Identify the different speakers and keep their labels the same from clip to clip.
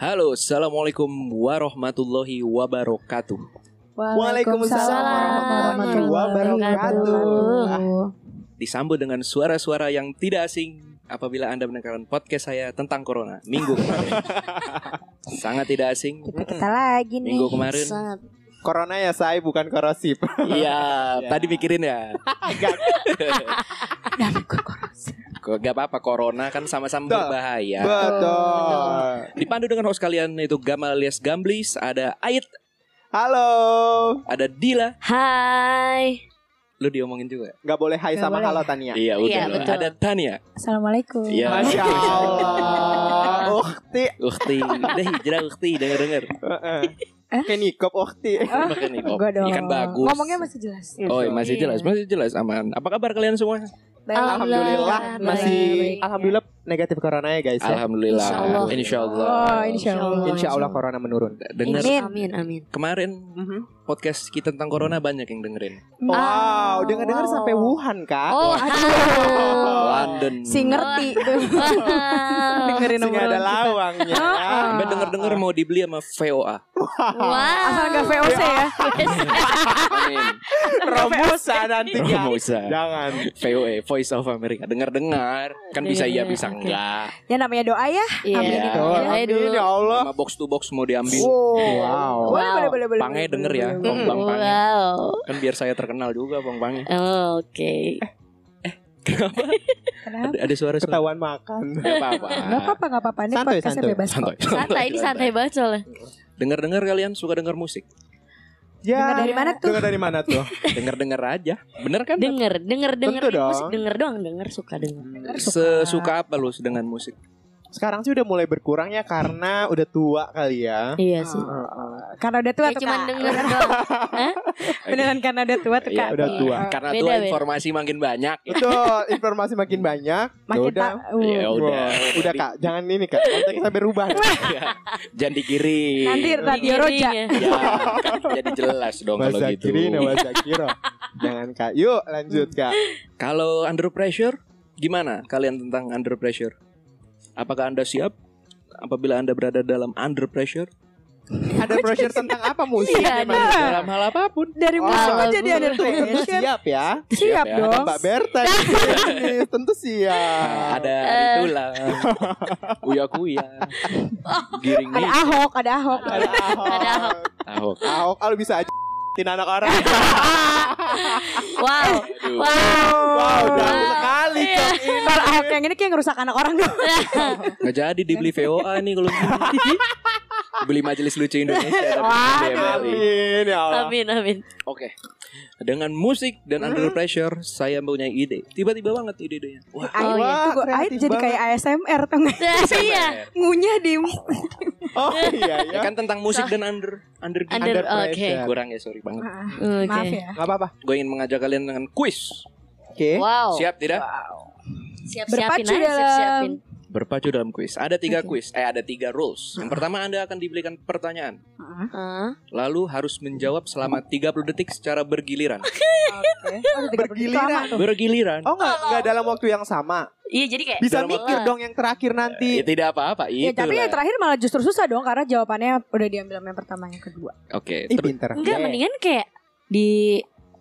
Speaker 1: Halo, assalamualaikum warahmatullahi wabarakatuh.
Speaker 2: warahmatullahi wabarakatuh.
Speaker 1: Disambut dengan suara-suara yang tidak asing apabila Anda mendengarkan podcast saya tentang corona minggu kemarin. Sangat tidak asing.
Speaker 2: Kita kita lagi nih.
Speaker 1: Minggu kemarin.
Speaker 2: Sangat.
Speaker 3: Corona ya saya bukan korosif.
Speaker 1: Iya, tadi mikirin ya.
Speaker 3: Agak
Speaker 2: Dan gue korupsi.
Speaker 1: Kok gak apa-apa corona kan sama-sama
Speaker 3: Betul.
Speaker 1: berbahaya.
Speaker 3: betul.
Speaker 1: Dipandu dengan host kalian itu Gamal alias Gamblis, ada Ait,
Speaker 3: Halo.
Speaker 1: ada Dila.
Speaker 4: Hai.
Speaker 1: Lu diomongin juga.
Speaker 3: Nggak boleh hai
Speaker 2: Nggak
Speaker 3: sama
Speaker 2: boleh.
Speaker 3: halo Tania.
Speaker 1: Iya,
Speaker 4: Iya,
Speaker 1: udah. lah.
Speaker 4: betul.
Speaker 1: ada Tania.
Speaker 2: Assalamualaikum.
Speaker 1: Iya.
Speaker 3: Masya Allah. Oh. Ukti.
Speaker 1: Ukti, udah hijrah Ukti, denger-denger.
Speaker 3: Heeh. Kayak nikop Ukti.
Speaker 2: Ah,
Speaker 1: Makan nih,
Speaker 2: gue dong.
Speaker 1: Ikan bagus.
Speaker 2: Ngomongnya masih jelas.
Speaker 3: Gitu.
Speaker 1: Oh, masih
Speaker 2: Iya.
Speaker 1: jelas, masih jelas aman. Apa kabar kalian semua?
Speaker 2: Baik.
Speaker 3: Alhamdulillah
Speaker 2: Baik.
Speaker 3: masih alhamdulillah negatif corona ya guys. Ya.
Speaker 1: Alhamdulillah.
Speaker 4: Insya Allah.
Speaker 2: Oh,
Speaker 1: Insyaallah.
Speaker 2: insya Allah.
Speaker 3: Insya Allah corona menurun. Mhm.
Speaker 1: Dengar
Speaker 2: Amin.
Speaker 4: Amin, amin.
Speaker 1: kemarin podcast kita tentang corona banyak yang dengerin.
Speaker 3: Wow, dengar-dengar
Speaker 2: wow.
Speaker 3: sampai Wuhan kak.
Speaker 4: Oh,
Speaker 1: London.
Speaker 2: Si ngerti tuh.
Speaker 4: Wow.
Speaker 2: Dengerin
Speaker 3: Sehingga ada
Speaker 2: obrolan kita.
Speaker 3: lawangnya.
Speaker 2: Heeh.
Speaker 1: Sampai denger-denger mau dibeli sama VOA.
Speaker 4: Wow.
Speaker 2: Asal nggak VOC
Speaker 1: Iya.
Speaker 2: ya.
Speaker 1: Amin.
Speaker 3: Romusa nanti ya.
Speaker 1: Romosa.
Speaker 3: Jangan.
Speaker 1: VOA Voice of America. Dengar-dengar kan bisa iya bisa enggak.
Speaker 2: Ya namanya doa ya.
Speaker 4: Iya.
Speaker 2: Amin
Speaker 1: Iya.
Speaker 2: itu.
Speaker 4: Doa.
Speaker 3: Amin,
Speaker 4: dulu.
Speaker 3: ya Allah.
Speaker 1: Sama box to box mau
Speaker 4: Oh,
Speaker 1: diambil.
Speaker 3: Wow.
Speaker 2: Boleh,
Speaker 4: Wow.
Speaker 2: Boleh, boleh, boleh.
Speaker 1: Pange
Speaker 2: boleh,
Speaker 1: denger ya,
Speaker 2: boleh,
Speaker 1: Bang
Speaker 2: boleh.
Speaker 1: Bang Pange.
Speaker 4: Wow.
Speaker 1: Kan biar saya terkenal juga Bang Pange.
Speaker 4: Oh, Oke.
Speaker 2: Kenapa?
Speaker 1: Ada, ada suara-suara.
Speaker 3: Ketahuan makan.
Speaker 1: Enggak
Speaker 2: Nggak
Speaker 1: apa-apa.
Speaker 2: apa-apa, nggak apa-apa. Ini
Speaker 3: Santuy,
Speaker 2: podcastnya
Speaker 3: santuy.
Speaker 2: bebas.
Speaker 1: Santai.
Speaker 4: Santai, ini santai banget soalnya.
Speaker 3: Kan
Speaker 1: Dengar-dengar kalian suka dengar musik?
Speaker 2: Dengar dari mana tuh?
Speaker 3: Dengar Ya, dari mana tuh?
Speaker 1: Dengar-dengar aja. Bener kan?
Speaker 4: Denger, denger, denger
Speaker 3: Tentu
Speaker 4: musik,
Speaker 3: dong. Iya.
Speaker 4: denger doang, denger suka denger.
Speaker 2: suka.
Speaker 1: Sesuka apa lu dengan musik?
Speaker 3: Sekarang sih udah mulai berkurang ya karena udah tua kali ya.
Speaker 4: Iya sih.
Speaker 2: Karena udah tua
Speaker 4: Ya
Speaker 2: tuh
Speaker 4: cuman
Speaker 2: Kak.
Speaker 4: denger doang.
Speaker 2: Beneran karena udah tua tuh
Speaker 1: Iya,
Speaker 2: Kak.
Speaker 3: udah tua.
Speaker 1: Karena
Speaker 4: Beda,
Speaker 1: tua
Speaker 4: beda.
Speaker 1: informasi makin banyak.
Speaker 3: Betul, informasi makin banyak.
Speaker 2: Makin
Speaker 3: udah.
Speaker 2: tak. uh.
Speaker 1: Ya udah.
Speaker 3: udah kak, jangan ini kak. Kontak kita berubah.
Speaker 1: Jangan dikirim.
Speaker 2: Nanti
Speaker 4: iya,
Speaker 2: radio roja.
Speaker 4: Jadinya.
Speaker 1: Ya, kan jadi jelas dong kalau
Speaker 3: Masa
Speaker 1: gitu.
Speaker 3: kiri, masa kiro. Jangan kak. Yuk lanjut kak.
Speaker 1: Kalau under pressure, gimana kalian tentang under pressure? Apakah Anda siap? Apabila Anda berada dalam under pressure,
Speaker 3: Ada pressure tentang apa musik?
Speaker 4: Iya,
Speaker 3: memang?
Speaker 2: ada.
Speaker 1: dalam hal apapun,
Speaker 2: Dari
Speaker 3: Oh,
Speaker 2: musim
Speaker 4: bagus.
Speaker 2: aja dia ada
Speaker 3: Tentu
Speaker 2: pressure. Oh.
Speaker 3: siap ya.
Speaker 2: Siap
Speaker 1: Siap ya.
Speaker 2: dong.
Speaker 3: Mbak Berta di sini, tentu siap.
Speaker 1: ada itulah, uya kuya, giring
Speaker 2: Ada Ahok, ada Ahok.
Speaker 3: Ada Ahok.
Speaker 4: Ada Ahok.
Speaker 1: Ahok.
Speaker 3: Ahok, ah, lu bisa aja tin anak orang.
Speaker 4: Wow.
Speaker 1: Aduh.
Speaker 4: Wow.
Speaker 3: wow, jauh sekali kak.
Speaker 2: Oh. Iya. Kalau Ahok yang ini kayak ngerusak anak orang dong.
Speaker 1: Nggak jadi dibeli VOA nih kalau gini. Beli majelis lucu Indonesia tapi
Speaker 2: Waduh.
Speaker 1: BMLI.
Speaker 3: Amin ya Allah.
Speaker 4: Amin, amin.
Speaker 1: Oke. Dengan musik dan under pressure saya mempunyai ide. Tiba-tiba banget ide-idenya. Wah.
Speaker 2: Ayo
Speaker 4: iya.
Speaker 2: itu gue
Speaker 3: Kreatif
Speaker 2: Ayo jadi
Speaker 3: banget.
Speaker 2: kayak ASMR tuh nggak?
Speaker 4: Nah, Iya.
Speaker 2: ngunyah di
Speaker 3: Oh iya
Speaker 1: Ya
Speaker 3: ya.
Speaker 1: kan tentang musik dan under under,
Speaker 4: Under-
Speaker 1: under
Speaker 4: oke.
Speaker 3: pressure.
Speaker 1: kurang ya sorry banget.
Speaker 2: maaf
Speaker 4: Oke.
Speaker 2: ya.
Speaker 3: Gak apa-apa.
Speaker 1: Gue ingin mengajak kalian dengan kuis.
Speaker 3: Oke.
Speaker 4: Wow.
Speaker 1: Siap tidak?
Speaker 4: Siap-siapin
Speaker 2: Berpacu
Speaker 4: aja,
Speaker 2: dalam-
Speaker 4: siap-siapin.
Speaker 1: Berpacu dalam kuis. Ada tiga
Speaker 2: Oke.
Speaker 1: kuis. Eh ada tiga rules. Yang pertama Anda akan diberikan pertanyaan.
Speaker 4: Hah?
Speaker 1: Lalu harus menjawab selama 30 detik secara bergiliran.
Speaker 2: Oke. Oh, tiga puluh detik lama
Speaker 3: Bergiliran.
Speaker 2: tuh.
Speaker 1: Bergiliran.
Speaker 3: Oh enggak, enggak dalam waktu yang sama.
Speaker 4: Iya, jadi kayak
Speaker 3: Bisa
Speaker 1: Dalam
Speaker 3: mikir
Speaker 4: waktu-
Speaker 3: dong yang terakhir nanti.
Speaker 1: Ya, tidak apa-apa itu.
Speaker 2: Ya, tapi yang terakhir malah justru susah dong karena jawabannya udah diambil sama yang pertama yang kedua.
Speaker 1: Oke,
Speaker 3: Ih,
Speaker 1: terus-
Speaker 3: pinter.
Speaker 4: Enggak,
Speaker 3: Iya.
Speaker 4: mendingan kayak di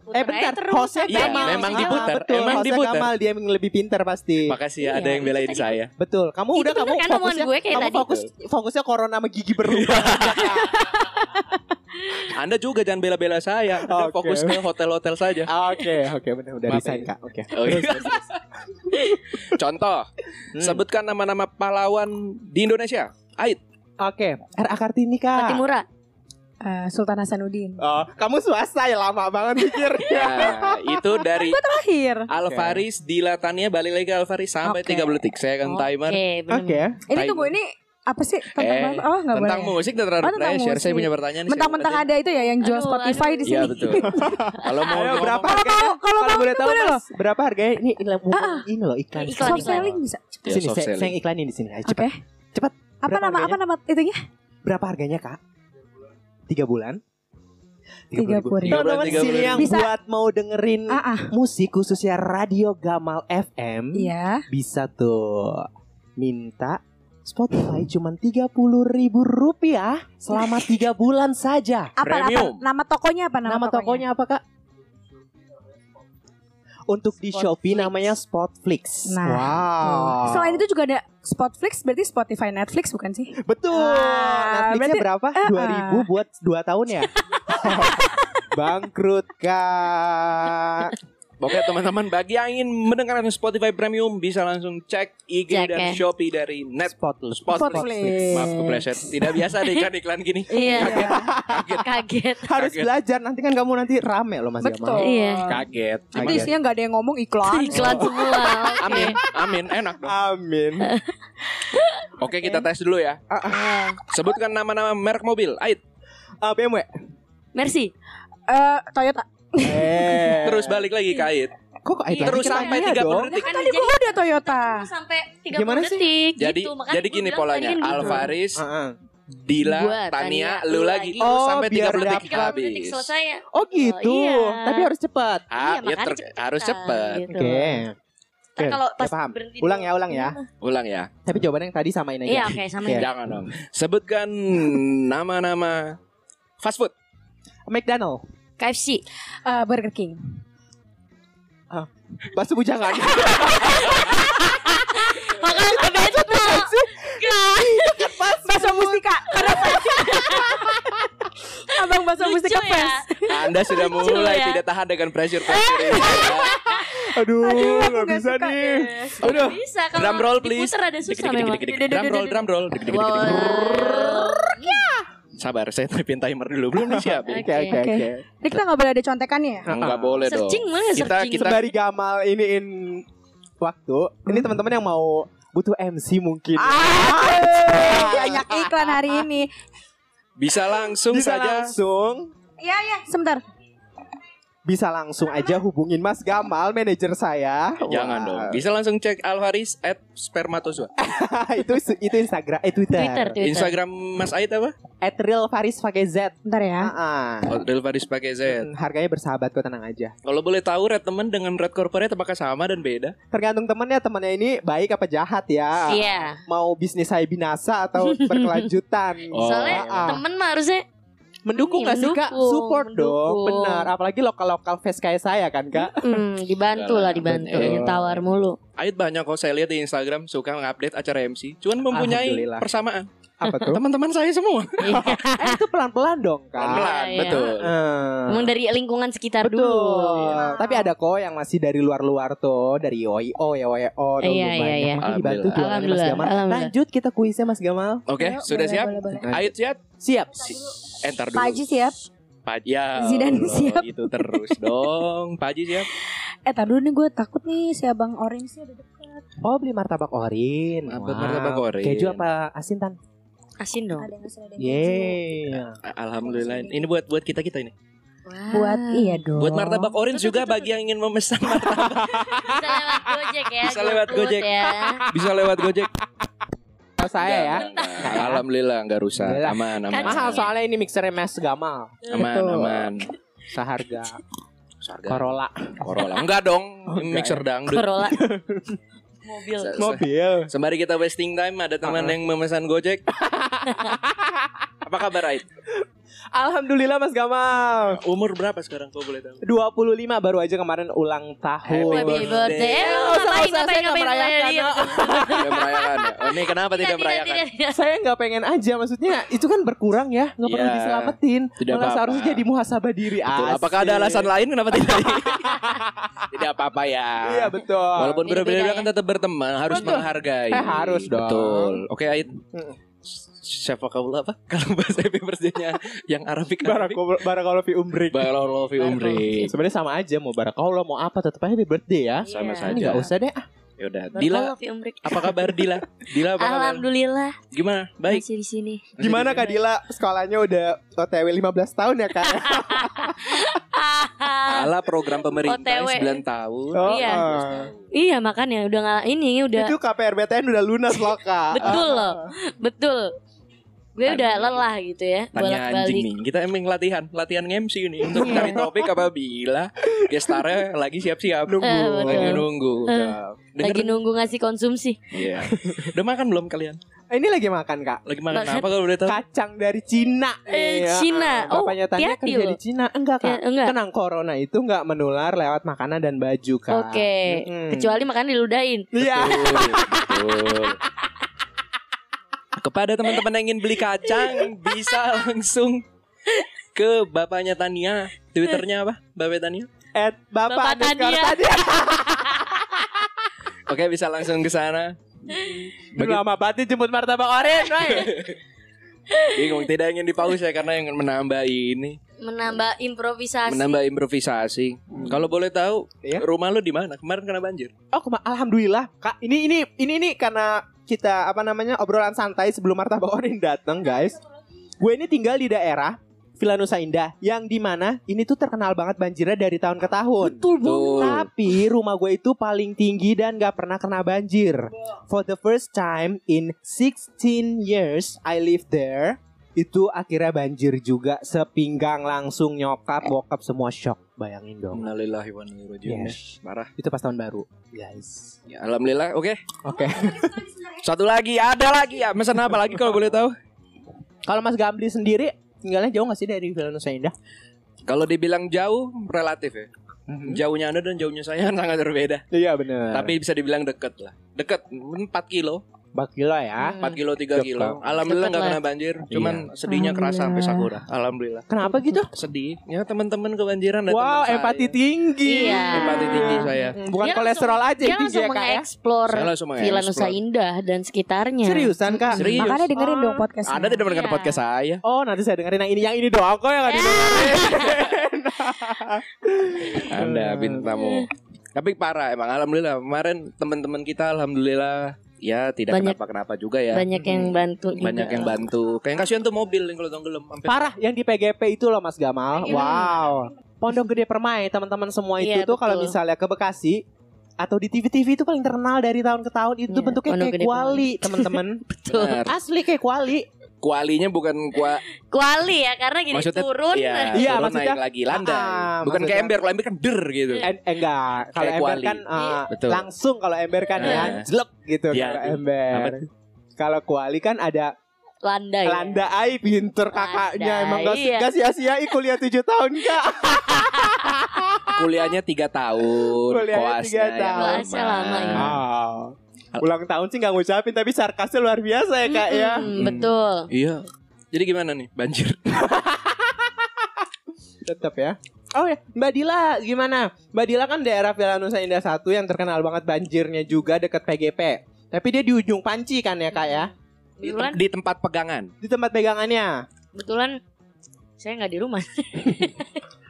Speaker 3: Eh bentar, hostnya
Speaker 1: Iya,
Speaker 3: Gamal.
Speaker 1: memang
Speaker 3: Ah,
Speaker 1: diputar,
Speaker 3: Betul,
Speaker 1: emang
Speaker 3: hostnya
Speaker 1: diputar.
Speaker 3: Gamal dia yang lebih pintar pasti.
Speaker 1: Makasih ya
Speaker 4: Iya,
Speaker 1: ada yang belain
Speaker 4: tadi-
Speaker 1: saya.
Speaker 3: Betul. Kamu
Speaker 4: Itu
Speaker 3: udah
Speaker 4: bener
Speaker 3: kamu
Speaker 4: kan omongan
Speaker 3: fokusnya
Speaker 4: gue kayak
Speaker 3: kamu
Speaker 4: tadi.
Speaker 3: fokus fokusnya corona sama gigi berlubang.
Speaker 1: Anda juga jangan bela-bela saya. Anda
Speaker 3: Oke.
Speaker 1: fokus ke hotel-hotel saja.
Speaker 3: Oke, oke benar udah
Speaker 1: Maaf,
Speaker 3: resign
Speaker 1: ya.
Speaker 3: Kak. Oke.
Speaker 1: Oke. Contoh,
Speaker 3: Hmm.
Speaker 1: sebutkan nama-nama pahlawan di Indonesia. Ait,
Speaker 3: Oke, RA Kartini Kak.
Speaker 4: Fatimura.
Speaker 2: Eh, Sultan Hasanuddin.
Speaker 3: Oh, kamu swasta ya lama banget mikirnya.
Speaker 1: Nah, itu dari
Speaker 2: Terakhir.
Speaker 1: Alvaris Dilatania balik lagi ke Alvaris sampai
Speaker 2: Oke.
Speaker 1: 30 detik. Saya akan timer.
Speaker 4: Oke, bener.
Speaker 3: Oke.
Speaker 2: Ini
Speaker 1: Timer.
Speaker 2: tunggu ini apa
Speaker 1: Eh,
Speaker 2: sih tentang oh nggak boleh.
Speaker 1: Tentang musik dan terhadap
Speaker 2: Oh, tentang
Speaker 1: pressure. Saya
Speaker 2: musik.
Speaker 1: punya pertanyaan. nih,
Speaker 2: Mentang-mentang
Speaker 1: siapa
Speaker 2: ada itu ya yang jual
Speaker 4: Aduh,
Speaker 2: Spotify
Speaker 4: aduh.
Speaker 2: di
Speaker 1: tadi?
Speaker 2: sini.
Speaker 1: Iya betul. Kalau mau
Speaker 3: Ayo
Speaker 1: ngomong-
Speaker 3: berapa
Speaker 2: Kalau
Speaker 3: harganya?
Speaker 2: mau, kalau mau
Speaker 3: boleh
Speaker 2: itu
Speaker 3: tahu
Speaker 2: boleh
Speaker 3: Mas,
Speaker 2: loh. Ah,
Speaker 3: berapa harganya? Ini ini, ini loh iklan.
Speaker 4: Iklan,
Speaker 2: Soft
Speaker 4: iklan.
Speaker 2: selling bisa.
Speaker 1: Ya,
Speaker 3: Sini
Speaker 1: soft
Speaker 3: saya, saya
Speaker 1: selling.
Speaker 3: iklanin di sini. Ayo
Speaker 2: Oke.
Speaker 3: cepet. Cepat.
Speaker 2: Apa
Speaker 3: Berapa
Speaker 2: nama apa nama itunya?
Speaker 3: Berapa harganya kak? Tiga bulan.
Speaker 2: Tiga puluh ribu.
Speaker 1: Tiga
Speaker 3: Teman-teman
Speaker 1: bulan, tiga
Speaker 3: sini
Speaker 1: puluh
Speaker 3: yang
Speaker 2: ribu. Bisa.
Speaker 3: buat mau dengerin
Speaker 2: Ah ah.
Speaker 3: musik khususnya Radio Gamal FM
Speaker 2: Iya.
Speaker 3: bisa tuh minta Spotify cuma 30 ribu rupiah selama 3 bulan saja.
Speaker 2: Apa, apa
Speaker 1: Premium.
Speaker 2: nama tokonya apa nama,
Speaker 3: Nama, tokonya apa kak? Untuk di
Speaker 4: Spotflix.
Speaker 3: Shopee namanya Spotflix.
Speaker 2: Nah,
Speaker 3: wow.
Speaker 2: Selain itu juga ada Spotflix berarti Spotify Netflix bukan sih?
Speaker 3: Betul.
Speaker 2: Wah,
Speaker 3: Netflixnya
Speaker 2: berarti-
Speaker 3: berapa?
Speaker 2: eh,
Speaker 3: Dua
Speaker 2: eh.
Speaker 3: 2000 buat 2 tahun ya. Bangkrut kak.
Speaker 1: Oke teman-teman bagi yang ingin mendengarkan Spotify Premium bisa langsung cek IG
Speaker 4: Cek,
Speaker 1: dan
Speaker 4: ya.
Speaker 1: Shopee dari Net
Speaker 3: Spotflix.
Speaker 1: Spotflix. Maaf kepleset. Tidak biasa deh kan iklan gini.
Speaker 4: Iya.
Speaker 1: Kaget.
Speaker 4: Kaget.
Speaker 3: Harus
Speaker 1: Kaget.
Speaker 3: belajar nanti kan kamu nanti rame loh Mas
Speaker 2: Betul.
Speaker 3: Gamal.
Speaker 4: Iya.
Speaker 1: Kaget.
Speaker 2: Itu
Speaker 1: Cuman- ya,
Speaker 2: isinya nggak ada yang ngomong iklan.
Speaker 4: Iklan semua. oke.
Speaker 1: Amin, amin, enak dong.
Speaker 3: Amin.
Speaker 2: Eh,
Speaker 1: Oke kita tes dulu ya.
Speaker 4: Eh,
Speaker 1: Sebutkan nama-nama merek mobil. Ait.
Speaker 3: Ah, BMW.
Speaker 4: Mercy.
Speaker 2: Eh, Toyota.
Speaker 3: Eh.
Speaker 1: Terus balik lagi ke Ait.
Speaker 4: gitu,
Speaker 3: Kok kok Aid lagi?
Speaker 1: Terus
Speaker 3: Kita
Speaker 1: sampai
Speaker 3: tanya
Speaker 1: 30
Speaker 3: dong.
Speaker 4: Nah,
Speaker 1: detik.
Speaker 4: kan
Speaker 2: Tadi gue udah Toyota.
Speaker 4: sampai 30
Speaker 3: Ah. Gimana sih?
Speaker 4: detik
Speaker 1: Jadi
Speaker 4: gitu. Makanya
Speaker 1: jadi
Speaker 4: gua
Speaker 1: gini
Speaker 4: bilang
Speaker 1: polanya.
Speaker 4: tadi kan gitu.
Speaker 1: Alvaris,
Speaker 3: Heeh.
Speaker 1: Dila,
Speaker 4: Gua,
Speaker 1: Tania,
Speaker 4: Tania,
Speaker 1: lu
Speaker 4: lu
Speaker 1: lagi.
Speaker 4: lagi.
Speaker 1: Terus
Speaker 3: Oh,
Speaker 1: sampai
Speaker 3: biar
Speaker 1: 30 detik
Speaker 4: 30
Speaker 1: habis.
Speaker 4: detik selesai ya.
Speaker 3: Oh gitu.
Speaker 4: Oh, iya.
Speaker 3: Tapi harus cepat.
Speaker 1: Ah, ya
Speaker 4: Iya, makanya
Speaker 1: ter-
Speaker 4: cepet-cepetan
Speaker 1: harus cepat.
Speaker 4: gitu.
Speaker 3: Oke.
Speaker 4: Ntar kalau
Speaker 3: Oke,
Speaker 4: pas
Speaker 3: ya paham.
Speaker 4: berhenti
Speaker 3: Ulang
Speaker 4: dulu.
Speaker 3: ya, ulang ya.
Speaker 2: Iya.
Speaker 1: Ulang ya.
Speaker 3: Tapi jawabannya yang tadi samain aja.
Speaker 4: Iya, oke, sama
Speaker 3: Oke.
Speaker 4: ya.
Speaker 1: Jangan dong. Sebutkan nama-nama fast food.
Speaker 3: McDonald.
Speaker 4: KFC.
Speaker 2: Eh, Burger King.
Speaker 3: Bakso bujangan.
Speaker 4: Makan sampai itu tuh.
Speaker 2: Bakso Mustika. Karena Abang Bakso
Speaker 4: Lucu
Speaker 2: Mustika
Speaker 4: ya.
Speaker 2: Fest.
Speaker 1: Anda sudah
Speaker 4: Lucu
Speaker 1: mulai
Speaker 4: ya.
Speaker 1: tidak tahan dengan pressure pressure ini.
Speaker 3: Aduh,
Speaker 2: aku
Speaker 3: nggak
Speaker 2: nggak
Speaker 3: bisa
Speaker 2: suka
Speaker 3: nih.
Speaker 4: Nggak
Speaker 3: Aduh.
Speaker 4: Bisa kalau
Speaker 1: Drum roll please.
Speaker 4: diputer ada susah
Speaker 1: Dik, dik,
Speaker 4: memang.
Speaker 1: dik, dik, dik. Drum roll, drum roll. Dik, dik, dik, dik. Sabar, saya typein timer dulu. Belum nih siap. ya?
Speaker 3: Oke, oke,
Speaker 2: Oke.
Speaker 3: oke.
Speaker 2: Ini kita nggak boleh ada contekannya ya?
Speaker 1: Enggak boleh dong.
Speaker 4: Searching mana
Speaker 1: Kita
Speaker 4: searching?
Speaker 1: kita
Speaker 3: Sembari Gamal iniin waktu. Ini teman-teman yang mau butuh MC mungkin.
Speaker 2: Ah, banyak iklan hari ini.
Speaker 1: bisa langsung
Speaker 3: Bisa
Speaker 1: saja.
Speaker 3: langsung
Speaker 2: Iya, iya. Sebentar.
Speaker 3: bisa langsung aja hubungin Mas Gamal, manajer saya.
Speaker 1: Jangan
Speaker 3: Wah.
Speaker 1: dong. Bisa langsung cek Alvaris at spermatozoa.
Speaker 3: itu itu Instagram, eh Twitter.
Speaker 4: Twitter,
Speaker 2: Iya,
Speaker 4: Twitter.
Speaker 1: Instagram Mas Ait apa? Oh,
Speaker 3: At real Faris pakai Z.
Speaker 2: Bentar ya.
Speaker 3: Ah.
Speaker 1: Alvaris pakai Z.
Speaker 3: Hmm, Harganya bersahabat kok tenang aja.
Speaker 1: Kalau boleh tahu red teman dengan red corporate apakah sama dan beda?
Speaker 3: Tergantung temennya, temennya ini baik apa jahat ya.
Speaker 4: Iya.
Speaker 3: Mau bisnis saya binasa atau berkelanjutan.
Speaker 2: Iya,
Speaker 1: Oh.
Speaker 4: Soalnya
Speaker 3: Ah.
Speaker 4: temen mah harusnya
Speaker 3: Mendukung
Speaker 4: Ini
Speaker 3: gak sih kak?
Speaker 4: mendukung,
Speaker 3: Support dong,
Speaker 4: mendukung.
Speaker 3: benar. Apalagi lokal-lokal face kayak saya kan kak.
Speaker 4: mm, dibantu lah dibantu.
Speaker 1: Betul.
Speaker 4: Yang tawar mulu.
Speaker 1: Ait banyak kok saya lihat di Instagram suka mengupdate acara MC. Cuman mempunyai
Speaker 3: Alhamdulillah.
Speaker 1: persamaan.
Speaker 3: Apa tuh? Kan.
Speaker 1: Teman-teman saya semua.
Speaker 3: eh, itu pelan-pelan dong kak.
Speaker 1: Pelan-pelan,
Speaker 4: Iya, iya.
Speaker 1: betul.
Speaker 3: Eh,
Speaker 4: Emang dari lingkungan sekitar
Speaker 3: Betul.
Speaker 4: dulu.
Speaker 3: Tapi ada kok yang masih dari luar-luar tuh, dari OIO ya WO tuh lumayan.
Speaker 4: Iya, iya, iya.
Speaker 3: Makanya dibantu
Speaker 1: Alhamdulillah.
Speaker 3: jualannya Mas Gamal.
Speaker 4: Alhamdulillah.
Speaker 3: Lanjut kita kuisnya Mas Gamal.
Speaker 1: Oke,
Speaker 2: Ayo,
Speaker 1: sudah
Speaker 2: boleh,
Speaker 1: siap?
Speaker 2: boleh, boleh.
Speaker 1: Ait siap?
Speaker 3: Siap.
Speaker 1: Si- Entar dulu.
Speaker 2: Pak Haji siap.
Speaker 1: Pak- ya
Speaker 2: Zidane
Speaker 1: Allah,
Speaker 2: siap.
Speaker 1: Itu terus dong. Pak Haji siap.
Speaker 2: Eh, tar dulu nih gue takut nih si Abang Orange nya ada dekat.
Speaker 3: Oh beli martabak orin.
Speaker 1: Apa
Speaker 3: Wow.
Speaker 1: martabak orin?
Speaker 3: Keju apa asin tan?
Speaker 4: Asin dong.
Speaker 2: Ada yang ngasih ada yang ngasih.
Speaker 3: Yeay.
Speaker 1: Alhamdulillah. Ini buat buat kita-kita ini.
Speaker 2: Buat
Speaker 4: Ah.
Speaker 2: iya dong.
Speaker 3: Oh.
Speaker 1: Buat martabak orange juga bagi yang ingin memesan martabak
Speaker 4: Bisa lewat
Speaker 1: Bisa lewat
Speaker 4: Gojek ya. GoFood
Speaker 1: Gojek.
Speaker 4: ya.
Speaker 1: bisa lewat Gojek.
Speaker 3: Kalau saya ya.
Speaker 1: Enggak, enggak, enggak. Alhamdulillah nggak rusak.
Speaker 3: Alhamdulillah.
Speaker 1: Aman, aman.
Speaker 4: Kan
Speaker 3: Mahal soalnya ini mixernya Mas Gamal.
Speaker 1: Aman,
Speaker 2: Betul.
Speaker 1: aman.
Speaker 3: Seharga
Speaker 1: Seharga
Speaker 3: Corolla.
Speaker 1: Corolla. Enggak dong,
Speaker 3: Oh, enggak ya.
Speaker 1: mixer dangdut.
Speaker 4: Corolla. Mobil.
Speaker 1: Se- se-
Speaker 3: Mobil.
Speaker 1: Sembari kita wasting time, ada teman
Speaker 3: Uh-uh.
Speaker 1: yang memesan Gojek. Apa kabar Ait?
Speaker 3: Alhamdulillah Mas Gamal.
Speaker 1: Umur berapa sekarang kau boleh tahu?
Speaker 3: 25 baru aja kemarin ulang tahun.
Speaker 4: Happy birthday. Eh,
Speaker 3: Eh, usah,
Speaker 4: ngapain,
Speaker 3: usah, saya
Speaker 4: ngapain,
Speaker 3: nggak
Speaker 4: ngapain,
Speaker 3: merayakan.
Speaker 4: ngapain,
Speaker 1: Tidak merayakan. ya? Oh, ini kenapa tidak, merayakan?
Speaker 4: tidak, tidak.
Speaker 3: saya nggak pengen aja maksudnya itu kan berkurang ya nggak perlu
Speaker 1: Iya.
Speaker 3: diselamatin
Speaker 1: Tidak
Speaker 3: malah
Speaker 1: apa-apa.
Speaker 3: seharusnya jadi muhasabah diri
Speaker 1: Betul.
Speaker 3: Asik.
Speaker 1: Apakah ada alasan lain kenapa tidak? tidak apa-apa ya.
Speaker 3: iya betul
Speaker 1: Walaupun
Speaker 4: Beda-beda
Speaker 1: berbeda
Speaker 4: ya.
Speaker 1: kan tetap berteman, harus
Speaker 3: Betul.
Speaker 1: menghargai.
Speaker 3: Eh, harus dong.
Speaker 1: Betul. Oke, Ait.
Speaker 3: Mm.
Speaker 1: Syafaqullah apa? Kalau bahasa happy birthday-nya yang kan. Arabik Arabik.
Speaker 3: Barako- Barakallah fi umrik
Speaker 1: Barakallahu fi umri.
Speaker 3: sebenarnya sama aja mau barakallah mau apa tetap aja happy birthday ya
Speaker 1: Sama
Speaker 4: Iya.
Speaker 1: saja.
Speaker 3: ini nggak usah deh ah.
Speaker 1: Yaudah, Ya Dila
Speaker 4: Tapi umrik.
Speaker 1: apa kabar Dila? Dila apa kabar?
Speaker 4: Alhamdulillah
Speaker 1: Gimana? Baik.
Speaker 4: masih di sini.
Speaker 3: gimana Kak Dila sekolahnya udah OTW 15 tahun ya Kak
Speaker 1: Ala program pemerintah
Speaker 4: OTW.
Speaker 1: 9 tahun.
Speaker 3: Oh,
Speaker 4: Iya.
Speaker 3: ah.
Speaker 4: Iya makanya udah nggak ini udah
Speaker 3: itu KPRBTN udah lunas loh Kak
Speaker 4: betul
Speaker 3: Ah.
Speaker 4: loh betul. Gue
Speaker 1: Tanya.
Speaker 4: udah lelah gitu ya bolak
Speaker 1: Tanya anjing
Speaker 4: balik.
Speaker 1: nih Kita emang latihan Latihan MC nih Untuk
Speaker 3: Iya.
Speaker 1: cari topik apabila Gestarnya lagi siap-siap
Speaker 4: Eh,
Speaker 1: Nunggu
Speaker 4: betul.
Speaker 1: Lagi nunggu
Speaker 4: Eh,
Speaker 1: Udah.
Speaker 4: Lagi
Speaker 1: Dengar
Speaker 4: nunggu ngasih konsumsi.
Speaker 1: Iya Udah makan belum kalian?
Speaker 3: Eh, Ini lagi makan kak
Speaker 1: Lagi makan
Speaker 4: Bakso-
Speaker 1: apa kalau boleh tahu?
Speaker 3: Kacang dari Cina
Speaker 4: Eh,
Speaker 3: Iya.
Speaker 4: Cina. Oh,
Speaker 3: Bapaknya tanya
Speaker 4: hati-hati
Speaker 3: kerja
Speaker 4: loh.
Speaker 3: di Cina Enggak
Speaker 4: Ya,
Speaker 3: kak
Speaker 4: enggak.
Speaker 3: Tenang corona itu enggak menular lewat makanan dan baju kak
Speaker 4: Oke.
Speaker 3: Mm-mm.
Speaker 4: Kecuali makan diludahin.
Speaker 3: Iya
Speaker 1: Betul. Kepada teman-teman yang ingin beli kacang bisa langsung ke bapaknya Tania, twitternya apa? Bapak Tania.
Speaker 3: At
Speaker 4: Bapak
Speaker 3: bapak, underscore
Speaker 4: Tania.
Speaker 3: Tania.
Speaker 1: Oke bisa langsung ke sana.
Speaker 3: Dulu lama banget nih jemput martabak oren woy.
Speaker 1: Bingung tidak ingin dipaus ya karena yang menambah ini,
Speaker 4: Menambah improvisasi.
Speaker 1: menambah improvisasi. Kalau boleh tahu,
Speaker 3: Hmm. Iya.
Speaker 1: rumah lu di mana? Kemarin kena banjir.
Speaker 3: Oh kema- alhamdulillah kak Ini ini ini ini karena kita apa namanya obrolan santai sebelum martabak oren datang guys Gue ini tinggal di daerah Villa Nusa Indah Yang dimana ini tuh terkenal banget banjirnya dari tahun ke tahun
Speaker 2: Betul
Speaker 1: Betul.
Speaker 3: Tapi rumah gue itu paling tinggi dan gak pernah kena banjir. For the first time in 16 years I live there, itu akhirnya banjir juga sepinggang langsung nyokap bokap semua shock. Bayangin dong.
Speaker 1: Innalillahi wa inna ilaihi raji'un.
Speaker 3: Yes.
Speaker 1: Parah.
Speaker 3: Itu pas tahun baru. Guys.
Speaker 1: Ya, alhamdulillah. Oke.
Speaker 3: Oke.
Speaker 1: Satu lagi, ada lagi ya. Mesen apa lagi kalau boleh tahu?
Speaker 3: Kalau Mas Gambli sendiri tinggalnya jauh gak sih dari Villa Nusa Indah?
Speaker 1: Kalau dibilang jauh relatif ya.
Speaker 3: Hmm?
Speaker 1: Jauhnya Anda dan jauhnya saya kan sangat berbeda.
Speaker 3: Iya bener. Tapi
Speaker 1: Tapi bisa dibilang dekat lah. Dekat 4 kilo,
Speaker 3: Bakila ya.
Speaker 4: Hmm.
Speaker 1: 4 kilo 3 kilo.
Speaker 3: Dekat.
Speaker 1: Alhamdulillah
Speaker 4: Dekat
Speaker 1: nggak
Speaker 4: lah.
Speaker 1: kena banjir. Cuman sedihnya kerasa sampai sakura. Alhamdulillah.
Speaker 3: Kenapa gitu?
Speaker 1: Sedih. Ya teman-teman kebanjiran ada
Speaker 3: Wow,
Speaker 1: teman saya.
Speaker 3: empati tinggi.
Speaker 4: Iya.
Speaker 1: Empati tinggi saya.
Speaker 3: Hmm, Bukan
Speaker 4: Dia
Speaker 3: kolesterol aja
Speaker 4: Dia
Speaker 3: yang tinggi
Speaker 4: langsung
Speaker 3: ya kak ya.
Speaker 4: mengeksplor
Speaker 1: Saya langsung
Speaker 4: Villa Nusa
Speaker 1: mengeksplor.
Speaker 4: Indah dan sekitarnya.
Speaker 3: Seriusan kak?
Speaker 4: Mhm.
Speaker 1: Serius.
Speaker 2: Makanya dengerin dong podcastnya.
Speaker 1: Anda tidak mendengar
Speaker 4: Iya.
Speaker 1: podcast saya.
Speaker 3: Oh nanti saya dengerin yang ini Yang ini doang kok
Speaker 4: Eh,
Speaker 3: yang gak didengerin
Speaker 1: Anda
Speaker 4: Iya.
Speaker 1: bintang tamu. Tapi parah emang alhamdulillah kemarin teman-teman kita alhamdulillah ya tidak
Speaker 4: Banyak-
Speaker 1: kenapa-kenapa juga ya.
Speaker 4: Banyak yang bantu juga.
Speaker 1: Banyak yang bantu. Kayak kasihan tuh mobil yang kalau tenggelam sampai
Speaker 3: Parah yang di PGP itu loh Mas Gamal
Speaker 4: Iya.
Speaker 3: Wow Pondok Gede Permai teman-teman semua itu
Speaker 4: Iya,
Speaker 3: tuh Kalau
Speaker 4: betul.
Speaker 3: misalnya ke Bekasi Atau di TV-TV itu paling terkenal dari tahun ke tahun Itu
Speaker 4: Iya,
Speaker 3: bentuknya
Speaker 4: Pondok
Speaker 3: kayak
Speaker 4: Gede
Speaker 3: kuali teman-teman
Speaker 4: Betul.
Speaker 1: Benar.
Speaker 3: Asli kayak kuali
Speaker 1: Kualinya bukan kua
Speaker 4: Kuali ya karena gini
Speaker 1: maksudnya
Speaker 4: turun.
Speaker 1: Iya,
Speaker 3: Iya,
Speaker 1: turun
Speaker 3: maksudnya-
Speaker 1: naik lagi landai.
Speaker 3: Ah,
Speaker 1: bukan
Speaker 3: maksudnya-
Speaker 1: kayak ember, kalau ember kan der gitu.
Speaker 3: Eh, eh, Enggak Kalau
Speaker 1: Kayak
Speaker 3: ember
Speaker 1: kuali.
Speaker 3: kan eh,
Speaker 4: Iya.
Speaker 1: Betul.
Speaker 3: Langsung kalau ember kan ya
Speaker 1: Eh.
Speaker 3: Jelek
Speaker 1: Iya,
Speaker 3: gitu kalau
Speaker 1: iya. Apa
Speaker 3: ember Kalau kuali kan ada
Speaker 4: Landai.
Speaker 3: landai pinter kakaknya
Speaker 4: Landai,
Speaker 3: Emang gak,
Speaker 4: iya.
Speaker 3: gak sia-siain kuliah 7 tahun kak
Speaker 1: Eh, Kuliahnya 3 tahun,
Speaker 3: Kuliahnya
Speaker 1: koasnya
Speaker 3: tiga
Speaker 1: yang
Speaker 3: tahun.
Speaker 4: Koasnya lama, ya.
Speaker 3: Wow. Ulang tahun sih nggak ngucapin tapi sarkasnya luar biasa ya kak ya.
Speaker 4: Mm, betul.
Speaker 1: Iya. Jadi gimana nih banjir?
Speaker 3: Tetap ya. Oh ya, Mbak Dila gimana? Mbak Dila kan daerah Villa Nusa Indah 1 yang terkenal banget banjirnya juga deket PGP. Tapi dia di ujung panci kan ya kak ya?
Speaker 1: Iya.
Speaker 4: Kebetulan
Speaker 1: Di tempat pegangan.
Speaker 3: Di tempat pegangannya.
Speaker 4: kebetulan saya nggak di rumah.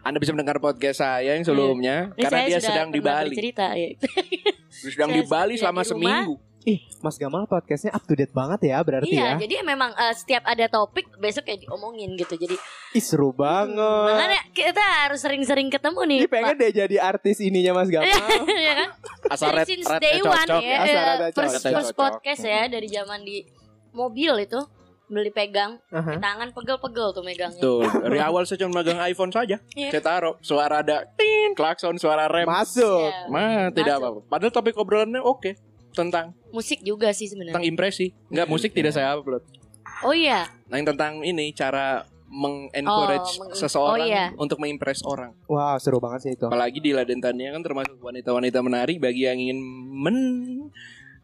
Speaker 1: Anda bisa mendengar podcast saya yang sebelumnya
Speaker 4: Ini
Speaker 1: karena
Speaker 4: saya
Speaker 1: dia
Speaker 4: sudah
Speaker 1: sedang di
Speaker 4: pernah
Speaker 1: Bali.
Speaker 4: bercerita, ya.
Speaker 1: Sedang
Speaker 4: Saya
Speaker 1: di Bali
Speaker 4: sedang
Speaker 1: selama
Speaker 4: di rumah.
Speaker 1: seminggu.
Speaker 3: Ih, Mas Gamal podcastnya up to date banget ya berarti
Speaker 4: iya,
Speaker 3: ya.
Speaker 4: jadi memang eh, setiap ada topik besok ya diomongin gitu. Jadi
Speaker 3: Ih seru
Speaker 4: Hmm,
Speaker 3: banget.
Speaker 4: makanya kita harus sering-sering ketemu nih.
Speaker 3: Ini pengen deh jadi artis ininya Mas Gamal.
Speaker 4: ya kan?
Speaker 1: Asal red,
Speaker 4: Since
Speaker 1: red
Speaker 4: day one
Speaker 1: cocok. Ah,
Speaker 4: ya.
Speaker 3: Asal
Speaker 4: eh,
Speaker 3: rada
Speaker 4: first,
Speaker 1: cocok.
Speaker 4: first podcast ya dari zaman di mobil itu beli pegang
Speaker 3: Aha.
Speaker 4: tangan pegel-pegel tuh megangnya.
Speaker 1: Tuh, dari awal saya cuma megang iPhone saja.
Speaker 4: Iya.
Speaker 1: Saya taruh suara ada tin, klakson, suara rem.
Speaker 3: Masuk.
Speaker 4: Iya.
Speaker 1: Mah, tidak
Speaker 4: Masuk.
Speaker 1: apa-apa. Padahal topik obrolannya oke. Tentang
Speaker 4: Musik juga sih sebenarnya.
Speaker 1: tentang impresi. Enggak
Speaker 4: Iya.
Speaker 1: musik tidak saya upload.
Speaker 4: Oh iya,
Speaker 1: Nah, yang tentang ini cara mengencourage
Speaker 4: Oh, meng-
Speaker 1: seseorang
Speaker 4: oh, iya.
Speaker 1: untuk mengimpress orang.
Speaker 3: Wow, seru banget sih itu.
Speaker 1: Apalagi di Ladentannya kan termasuk wanita-wanita menarik bagi yang ingin men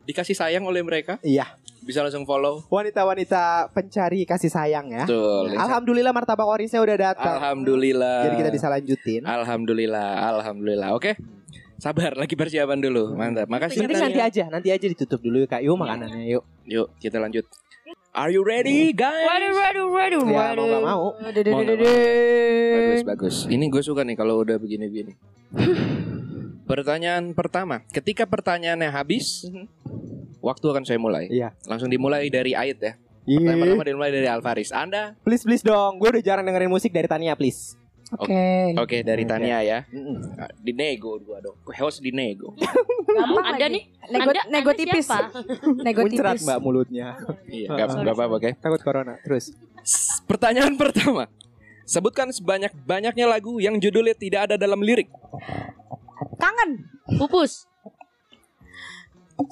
Speaker 1: dikasih sayang oleh mereka.
Speaker 3: Iya.
Speaker 1: Bisa langsung follow.
Speaker 3: Wanita-wanita pencari kasih sayang ya.
Speaker 1: Betul.
Speaker 3: Alhamdulillah martabak orisnya udah datang.
Speaker 1: Alhamdulillah.
Speaker 3: Jadi kita bisa lanjutin.
Speaker 1: Alhamdulillah, alhamdulillah. Oke. Sabar lagi persiapan dulu. Mantap. Makasih.
Speaker 3: Nanti
Speaker 1: Tania.
Speaker 3: nanti aja, nanti aja ditutup dulu ya Kak. Yuk makanannya yuk.
Speaker 1: Yuk, kita lanjut. Are you ready, guys?
Speaker 4: waduh waduh waduh
Speaker 3: Ya mau
Speaker 4: waduh.
Speaker 3: nggak mau.
Speaker 2: Oh,
Speaker 1: Mau nggak mau? Bagus, bagus. Ini gue suka nih kalau udah begini-begini. Pertanyaan pertama, ketika pertanyaannya habis,
Speaker 3: Mhm.
Speaker 1: waktu akan saya mulai.
Speaker 3: Iya.
Speaker 1: Langsung dimulai dari Ait ya. Yang
Speaker 3: Ih,
Speaker 1: pertama dimulai dari Alvaris. Anda,
Speaker 3: Please please dong. Gue udah jarang dengerin musik dari Tania please.
Speaker 2: Oke.
Speaker 1: oke dari
Speaker 3: Oke.
Speaker 1: Tania ya.
Speaker 3: Mm-mm.
Speaker 1: Nah, Dinego gua dong. Host dinego.
Speaker 2: Gampang
Speaker 4: Ada
Speaker 2: lagi.
Speaker 4: nih.
Speaker 2: Nego,
Speaker 4: Anda-
Speaker 2: nego
Speaker 4: Anda
Speaker 2: tipis.
Speaker 4: siapa?
Speaker 2: Nego
Speaker 3: Muncrat
Speaker 2: tipis.
Speaker 3: Mbak mulutnya.
Speaker 1: Iya, nggak apa- nggak apa-apa, oke.
Speaker 3: Takut corona. Terus.
Speaker 1: S- Pertanyaan pertama. Sebutkan sebanyak-banyaknya lagu yang judulnya tidak ada dalam lirik.
Speaker 2: Kangen.
Speaker 4: Pupus.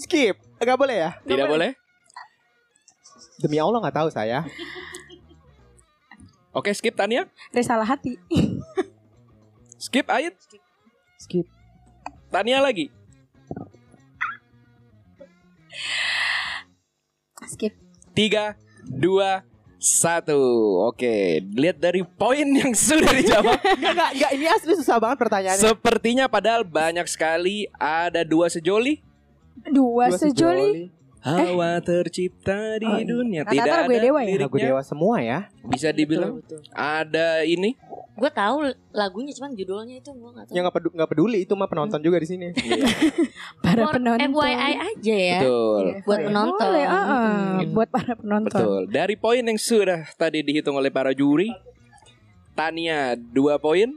Speaker 3: Skip. Enggak boleh ya?
Speaker 1: Tidak boleh.
Speaker 3: Demi Allah nggak tahu saya.
Speaker 1: Oke, skip Tania.
Speaker 2: Risalah hati.
Speaker 1: Skip Ait.
Speaker 3: Skip.
Speaker 1: Tania lagi.
Speaker 2: Skip.
Speaker 1: Tiga, dua, satu. Oke, lihat dari poin yang sudah dijawab.
Speaker 2: Iya,
Speaker 3: Enggak, enggak ini asli susah banget pertanyaannya.
Speaker 1: Sepertinya padahal banyak sekali ada dua sejoli.
Speaker 2: Dua,
Speaker 3: Dua
Speaker 2: sejoli.
Speaker 1: Hawa tercipta di
Speaker 2: Eh. Oh, iya.
Speaker 1: dunia
Speaker 2: Rata-rata
Speaker 1: tidak ada
Speaker 2: lagu dewa ya?
Speaker 1: liriknya.
Speaker 3: Lagu dewa semua ya.
Speaker 1: Bisa dibilang ada ini.
Speaker 4: Gue tahu lagunya cuman judulnya itu gue nggak tahu.
Speaker 3: Ya nggak peduli, nggak peduli itu mah penonton juga di sini.
Speaker 1: Iya,
Speaker 2: Iya. Para
Speaker 4: For
Speaker 2: penonton.
Speaker 4: FYI aja ya.
Speaker 1: Betul.
Speaker 2: Iya,
Speaker 4: Buat
Speaker 2: boleh.
Speaker 4: penonton.
Speaker 2: Boleh, ah, ah.
Speaker 4: Hmm.
Speaker 2: Buat para penonton.
Speaker 1: Betul. Dari poin yang sudah tadi dihitung oleh para juri, Tania dua poin,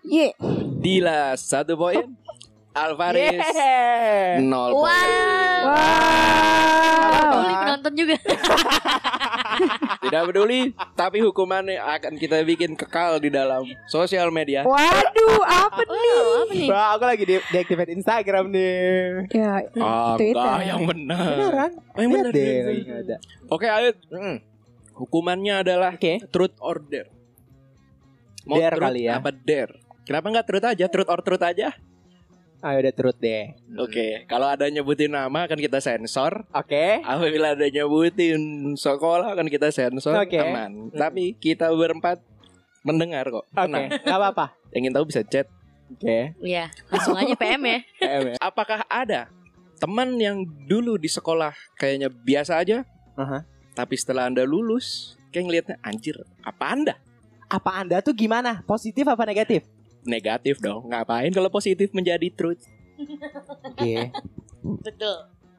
Speaker 2: Ye.
Speaker 1: Dila satu poin, Alvaris
Speaker 3: Yeah.
Speaker 1: nol
Speaker 4: Wow.
Speaker 1: poin.
Speaker 4: Nggak peduli
Speaker 2: Wah.
Speaker 4: penonton juga.
Speaker 1: Tidak peduli, tapi hukumannya akan kita bikin kekal di dalam sosial
Speaker 3: Oh,
Speaker 1: media.
Speaker 2: Waduh, apa nih?
Speaker 4: Wow, Oh, iya, apa nih?
Speaker 3: Bro, aku lagi di deactivate Instagram nih.
Speaker 2: Ya,
Speaker 1: Ah,
Speaker 2: Twitter.
Speaker 1: enggak, yang
Speaker 3: Ah.
Speaker 1: benar. Ah,
Speaker 3: Beneran?
Speaker 1: Yang
Speaker 3: Lihat
Speaker 1: benar.
Speaker 3: deh,
Speaker 1: benar,
Speaker 3: lagi
Speaker 1: benar.
Speaker 3: nggak ada.
Speaker 1: Oke, ayo.
Speaker 3: Mm.
Speaker 1: Hukumannya adalah
Speaker 3: Oke.
Speaker 1: truth or dare.
Speaker 3: Dare
Speaker 1: truth
Speaker 3: kali ya.
Speaker 1: Apa dare? Kenapa nggak truth aja? Truth or truth aja?
Speaker 3: Ayo udah turut deh.
Speaker 1: Oke, kalau ada nyebutin nama akan kita sensor.
Speaker 3: Oke.
Speaker 1: Apabila ada nyebutin sekolah kan kita sensor
Speaker 3: Oke.
Speaker 1: aman. Tapi kita berempat mendengar kok.
Speaker 3: Oke,
Speaker 1: Tenang.
Speaker 3: nggak apa-apa.
Speaker 1: Yang ingin tahu bisa chat.
Speaker 3: Oke.
Speaker 4: Iya, langsung aja PM ya.
Speaker 3: Em, ya.
Speaker 1: Apakah ada teman yang dulu di sekolah kayaknya biasa aja?
Speaker 3: Aha.
Speaker 1: Tapi setelah anda lulus kayak ngelihatnya anjir. Apa anda?
Speaker 3: Apa Anda tuh gimana? Positif apa negatif?
Speaker 1: Negatif dong. Ngapain kalau positif menjadi truth?
Speaker 3: Oke.
Speaker 4: Betul.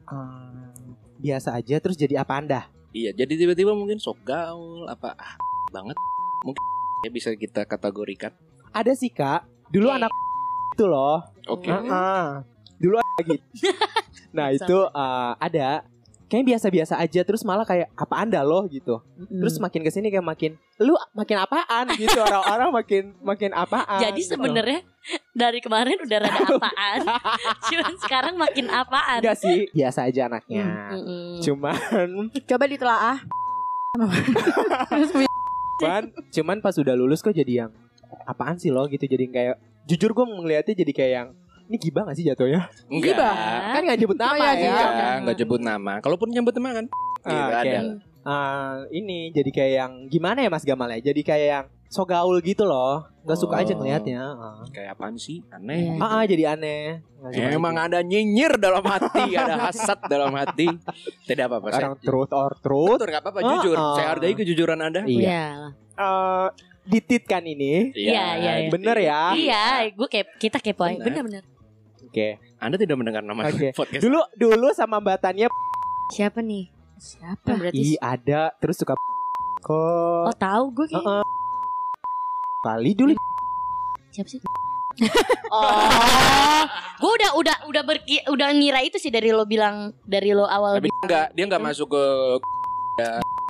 Speaker 3: Hmm, biasa aja terus jadi apa Anda?
Speaker 1: Iya. Jadi tiba-tiba mungkin sok gaul apa ah, banget. Mungkin ya bisa kita kategorikan.
Speaker 3: Ada sih Kak. Dulu
Speaker 4: Oke.
Speaker 3: anak itu loh.
Speaker 1: Oke.
Speaker 4: Hmm.
Speaker 3: Heeh. Dulu lagi. nah itu eh, ada. Kayaknya biasa-biasa aja terus malah kayak apa anda loh gitu.
Speaker 2: Hmm.
Speaker 3: Terus makin kesini kayak makin lu makin apaan gitu orang-orang makin makin apaan.
Speaker 4: Jadi
Speaker 3: gitu.
Speaker 4: sebenarnya dari kemarin udah rada apaan. Cuman sekarang makin apaan.
Speaker 3: enggak sih biasa aja anaknya.
Speaker 4: Mm-mm.
Speaker 3: Cuman,
Speaker 2: Coba
Speaker 4: ah.
Speaker 2: ditelaah.
Speaker 3: cuman, cuman pas udah lulus kok jadi yang apaan sih lo gitu jadi kayak jujur gue ngeliatnya jadi kayak yang ini gibah gak sih jatuhnya?
Speaker 4: Iya,
Speaker 1: Enggak.
Speaker 2: Gibah.
Speaker 3: Kan gak nyebut
Speaker 2: Oh,
Speaker 3: nama
Speaker 2: iya,
Speaker 3: ya.
Speaker 2: iya.
Speaker 1: Enggak, enggak nyebut nama. Kalaupun nyebut nama kan.
Speaker 3: Ah,
Speaker 1: Gitu,
Speaker 3: oke.
Speaker 1: ada.
Speaker 3: Eh, ini jadi kayak yang gimana ya Mas Gamal ya? Jadi kayak yang so gaul gitu loh. Gak suka aja
Speaker 1: Oh.
Speaker 3: ngelihatnya. Ah,
Speaker 1: Kayak apaan sih? Aneh.
Speaker 4: Iya.
Speaker 3: Ah, ah, jadi aneh. Nggak suka
Speaker 1: Iya, Emang
Speaker 3: gitu.
Speaker 1: ada nyinyir dalam hati, ada hasad dalam hati. Tidak apa-apa. Saya
Speaker 3: orang truth or truth
Speaker 1: betul, nggak apa-apa.
Speaker 3: Ah,
Speaker 1: Jujur,
Speaker 3: ah.
Speaker 1: saya hargai kejujuran Anda.
Speaker 3: Iya.
Speaker 4: Iya.
Speaker 3: Eh, ditit kan ini.
Speaker 4: Iya, iya, iya.
Speaker 3: Bener ya.
Speaker 4: Iya, gue kep- kita kepo aja.
Speaker 1: Benar.
Speaker 4: Bener-bener.
Speaker 3: Oke.
Speaker 1: Anda tidak mendengar nama
Speaker 3: Oke.
Speaker 1: podcast.
Speaker 3: Dulu dulu sama batannya
Speaker 4: Siapa nih?
Speaker 2: Siapa?
Speaker 4: Kan
Speaker 3: i
Speaker 4: berarti
Speaker 3: ada terus suka kok
Speaker 4: Oh tahu gue kayak
Speaker 3: kali dulu.
Speaker 4: siapa sih?
Speaker 3: Oh.
Speaker 4: Gue udah udah udah berki udah ngira itu sih dari lo bilang dari lo awal
Speaker 1: Tapi enggak, dia enggak masuk ke
Speaker 3: Eh.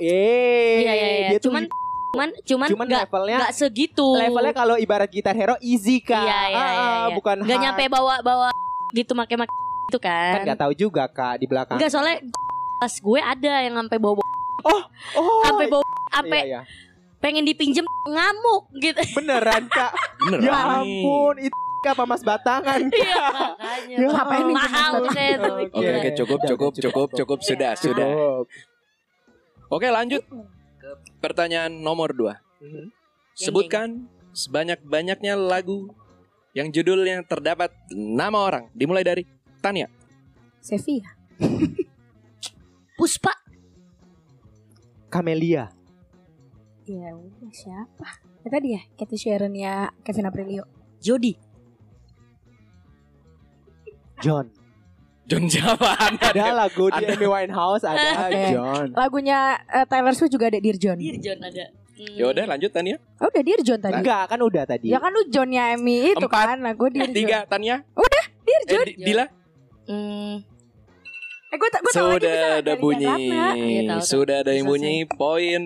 Speaker 4: Iya iya iya.
Speaker 3: Dia tuh
Speaker 4: Cuman cuman cuman
Speaker 3: cuman
Speaker 4: nggak
Speaker 3: levelnya
Speaker 4: nggak segitu.
Speaker 3: levelnya kalau ibarat gitar hero easy
Speaker 4: Iya
Speaker 3: kan.
Speaker 4: iya iya.
Speaker 3: Ah, ah,
Speaker 4: iya.
Speaker 3: bukan
Speaker 4: Nggak
Speaker 3: hard.
Speaker 4: nyampe bawa-bawa gitu make-make itu
Speaker 3: kan
Speaker 4: kan.
Speaker 3: nggak tahu juga kak di belakang.
Speaker 4: Enggak soalnya pas gue ada yang sampai bawa
Speaker 3: Oh,
Speaker 4: sampai bawa
Speaker 3: iya,
Speaker 4: sampai
Speaker 3: iya.
Speaker 4: pengen dipinjem ngamuk gitu.
Speaker 3: beneran kak.
Speaker 1: bener.
Speaker 3: ya ampun, itu apa mas batangan?
Speaker 4: Iya makanya.
Speaker 3: Ya.
Speaker 2: Ngapain nih?
Speaker 4: Mahal Iya. saya tuh.
Speaker 3: Oke,
Speaker 1: Oke, oke, cukup,
Speaker 4: gila.
Speaker 3: Iya. Udah,
Speaker 1: cukup,
Speaker 3: udah,
Speaker 1: cukup, cukup, sudah,
Speaker 4: Iya.
Speaker 1: sudah. Oke, lanjut. Ke Pertanyaan nomor dua.
Speaker 3: Mhm.
Speaker 1: Sebutkan sebanyak-banyaknya lagu yang judulnya terdapat nama orang. Dimulai dari Tania.
Speaker 2: Sevilla.
Speaker 4: Puspa.
Speaker 3: Kamelia.
Speaker 2: Ya udah siapa? Ya tadi ya, Cathy Sharon ya Kevin Aprilio.
Speaker 4: Jody.
Speaker 3: John.
Speaker 1: John Jawa Anda
Speaker 3: Ada lagu di
Speaker 1: Ada.
Speaker 3: Amy Winehouse ada
Speaker 2: Oke.
Speaker 3: John.
Speaker 2: Lagunya eh, Taylor Swift juga ada Dear John.
Speaker 4: Iya, John ada. Hmm.
Speaker 1: Ya udah lanjut Tania.
Speaker 2: Oh, udah Dear John tadi.
Speaker 3: Enggak, kan udah tadi.
Speaker 2: Ya kan lu Johnnya Emmy itu
Speaker 1: Empat,
Speaker 2: kan lagu Dear John.
Speaker 1: Tiga Tania.
Speaker 2: Dear
Speaker 1: Eh,
Speaker 2: John.
Speaker 1: Di- Dila.
Speaker 4: Hmm,
Speaker 2: Eh gue tak gue tahu lagi
Speaker 1: Sudah ada
Speaker 2: dari
Speaker 1: bunyi.
Speaker 2: Jakarta.
Speaker 4: Iya, tahu, tahu.
Speaker 1: Sudah ada yang
Speaker 4: Selesai.
Speaker 1: bunyi poin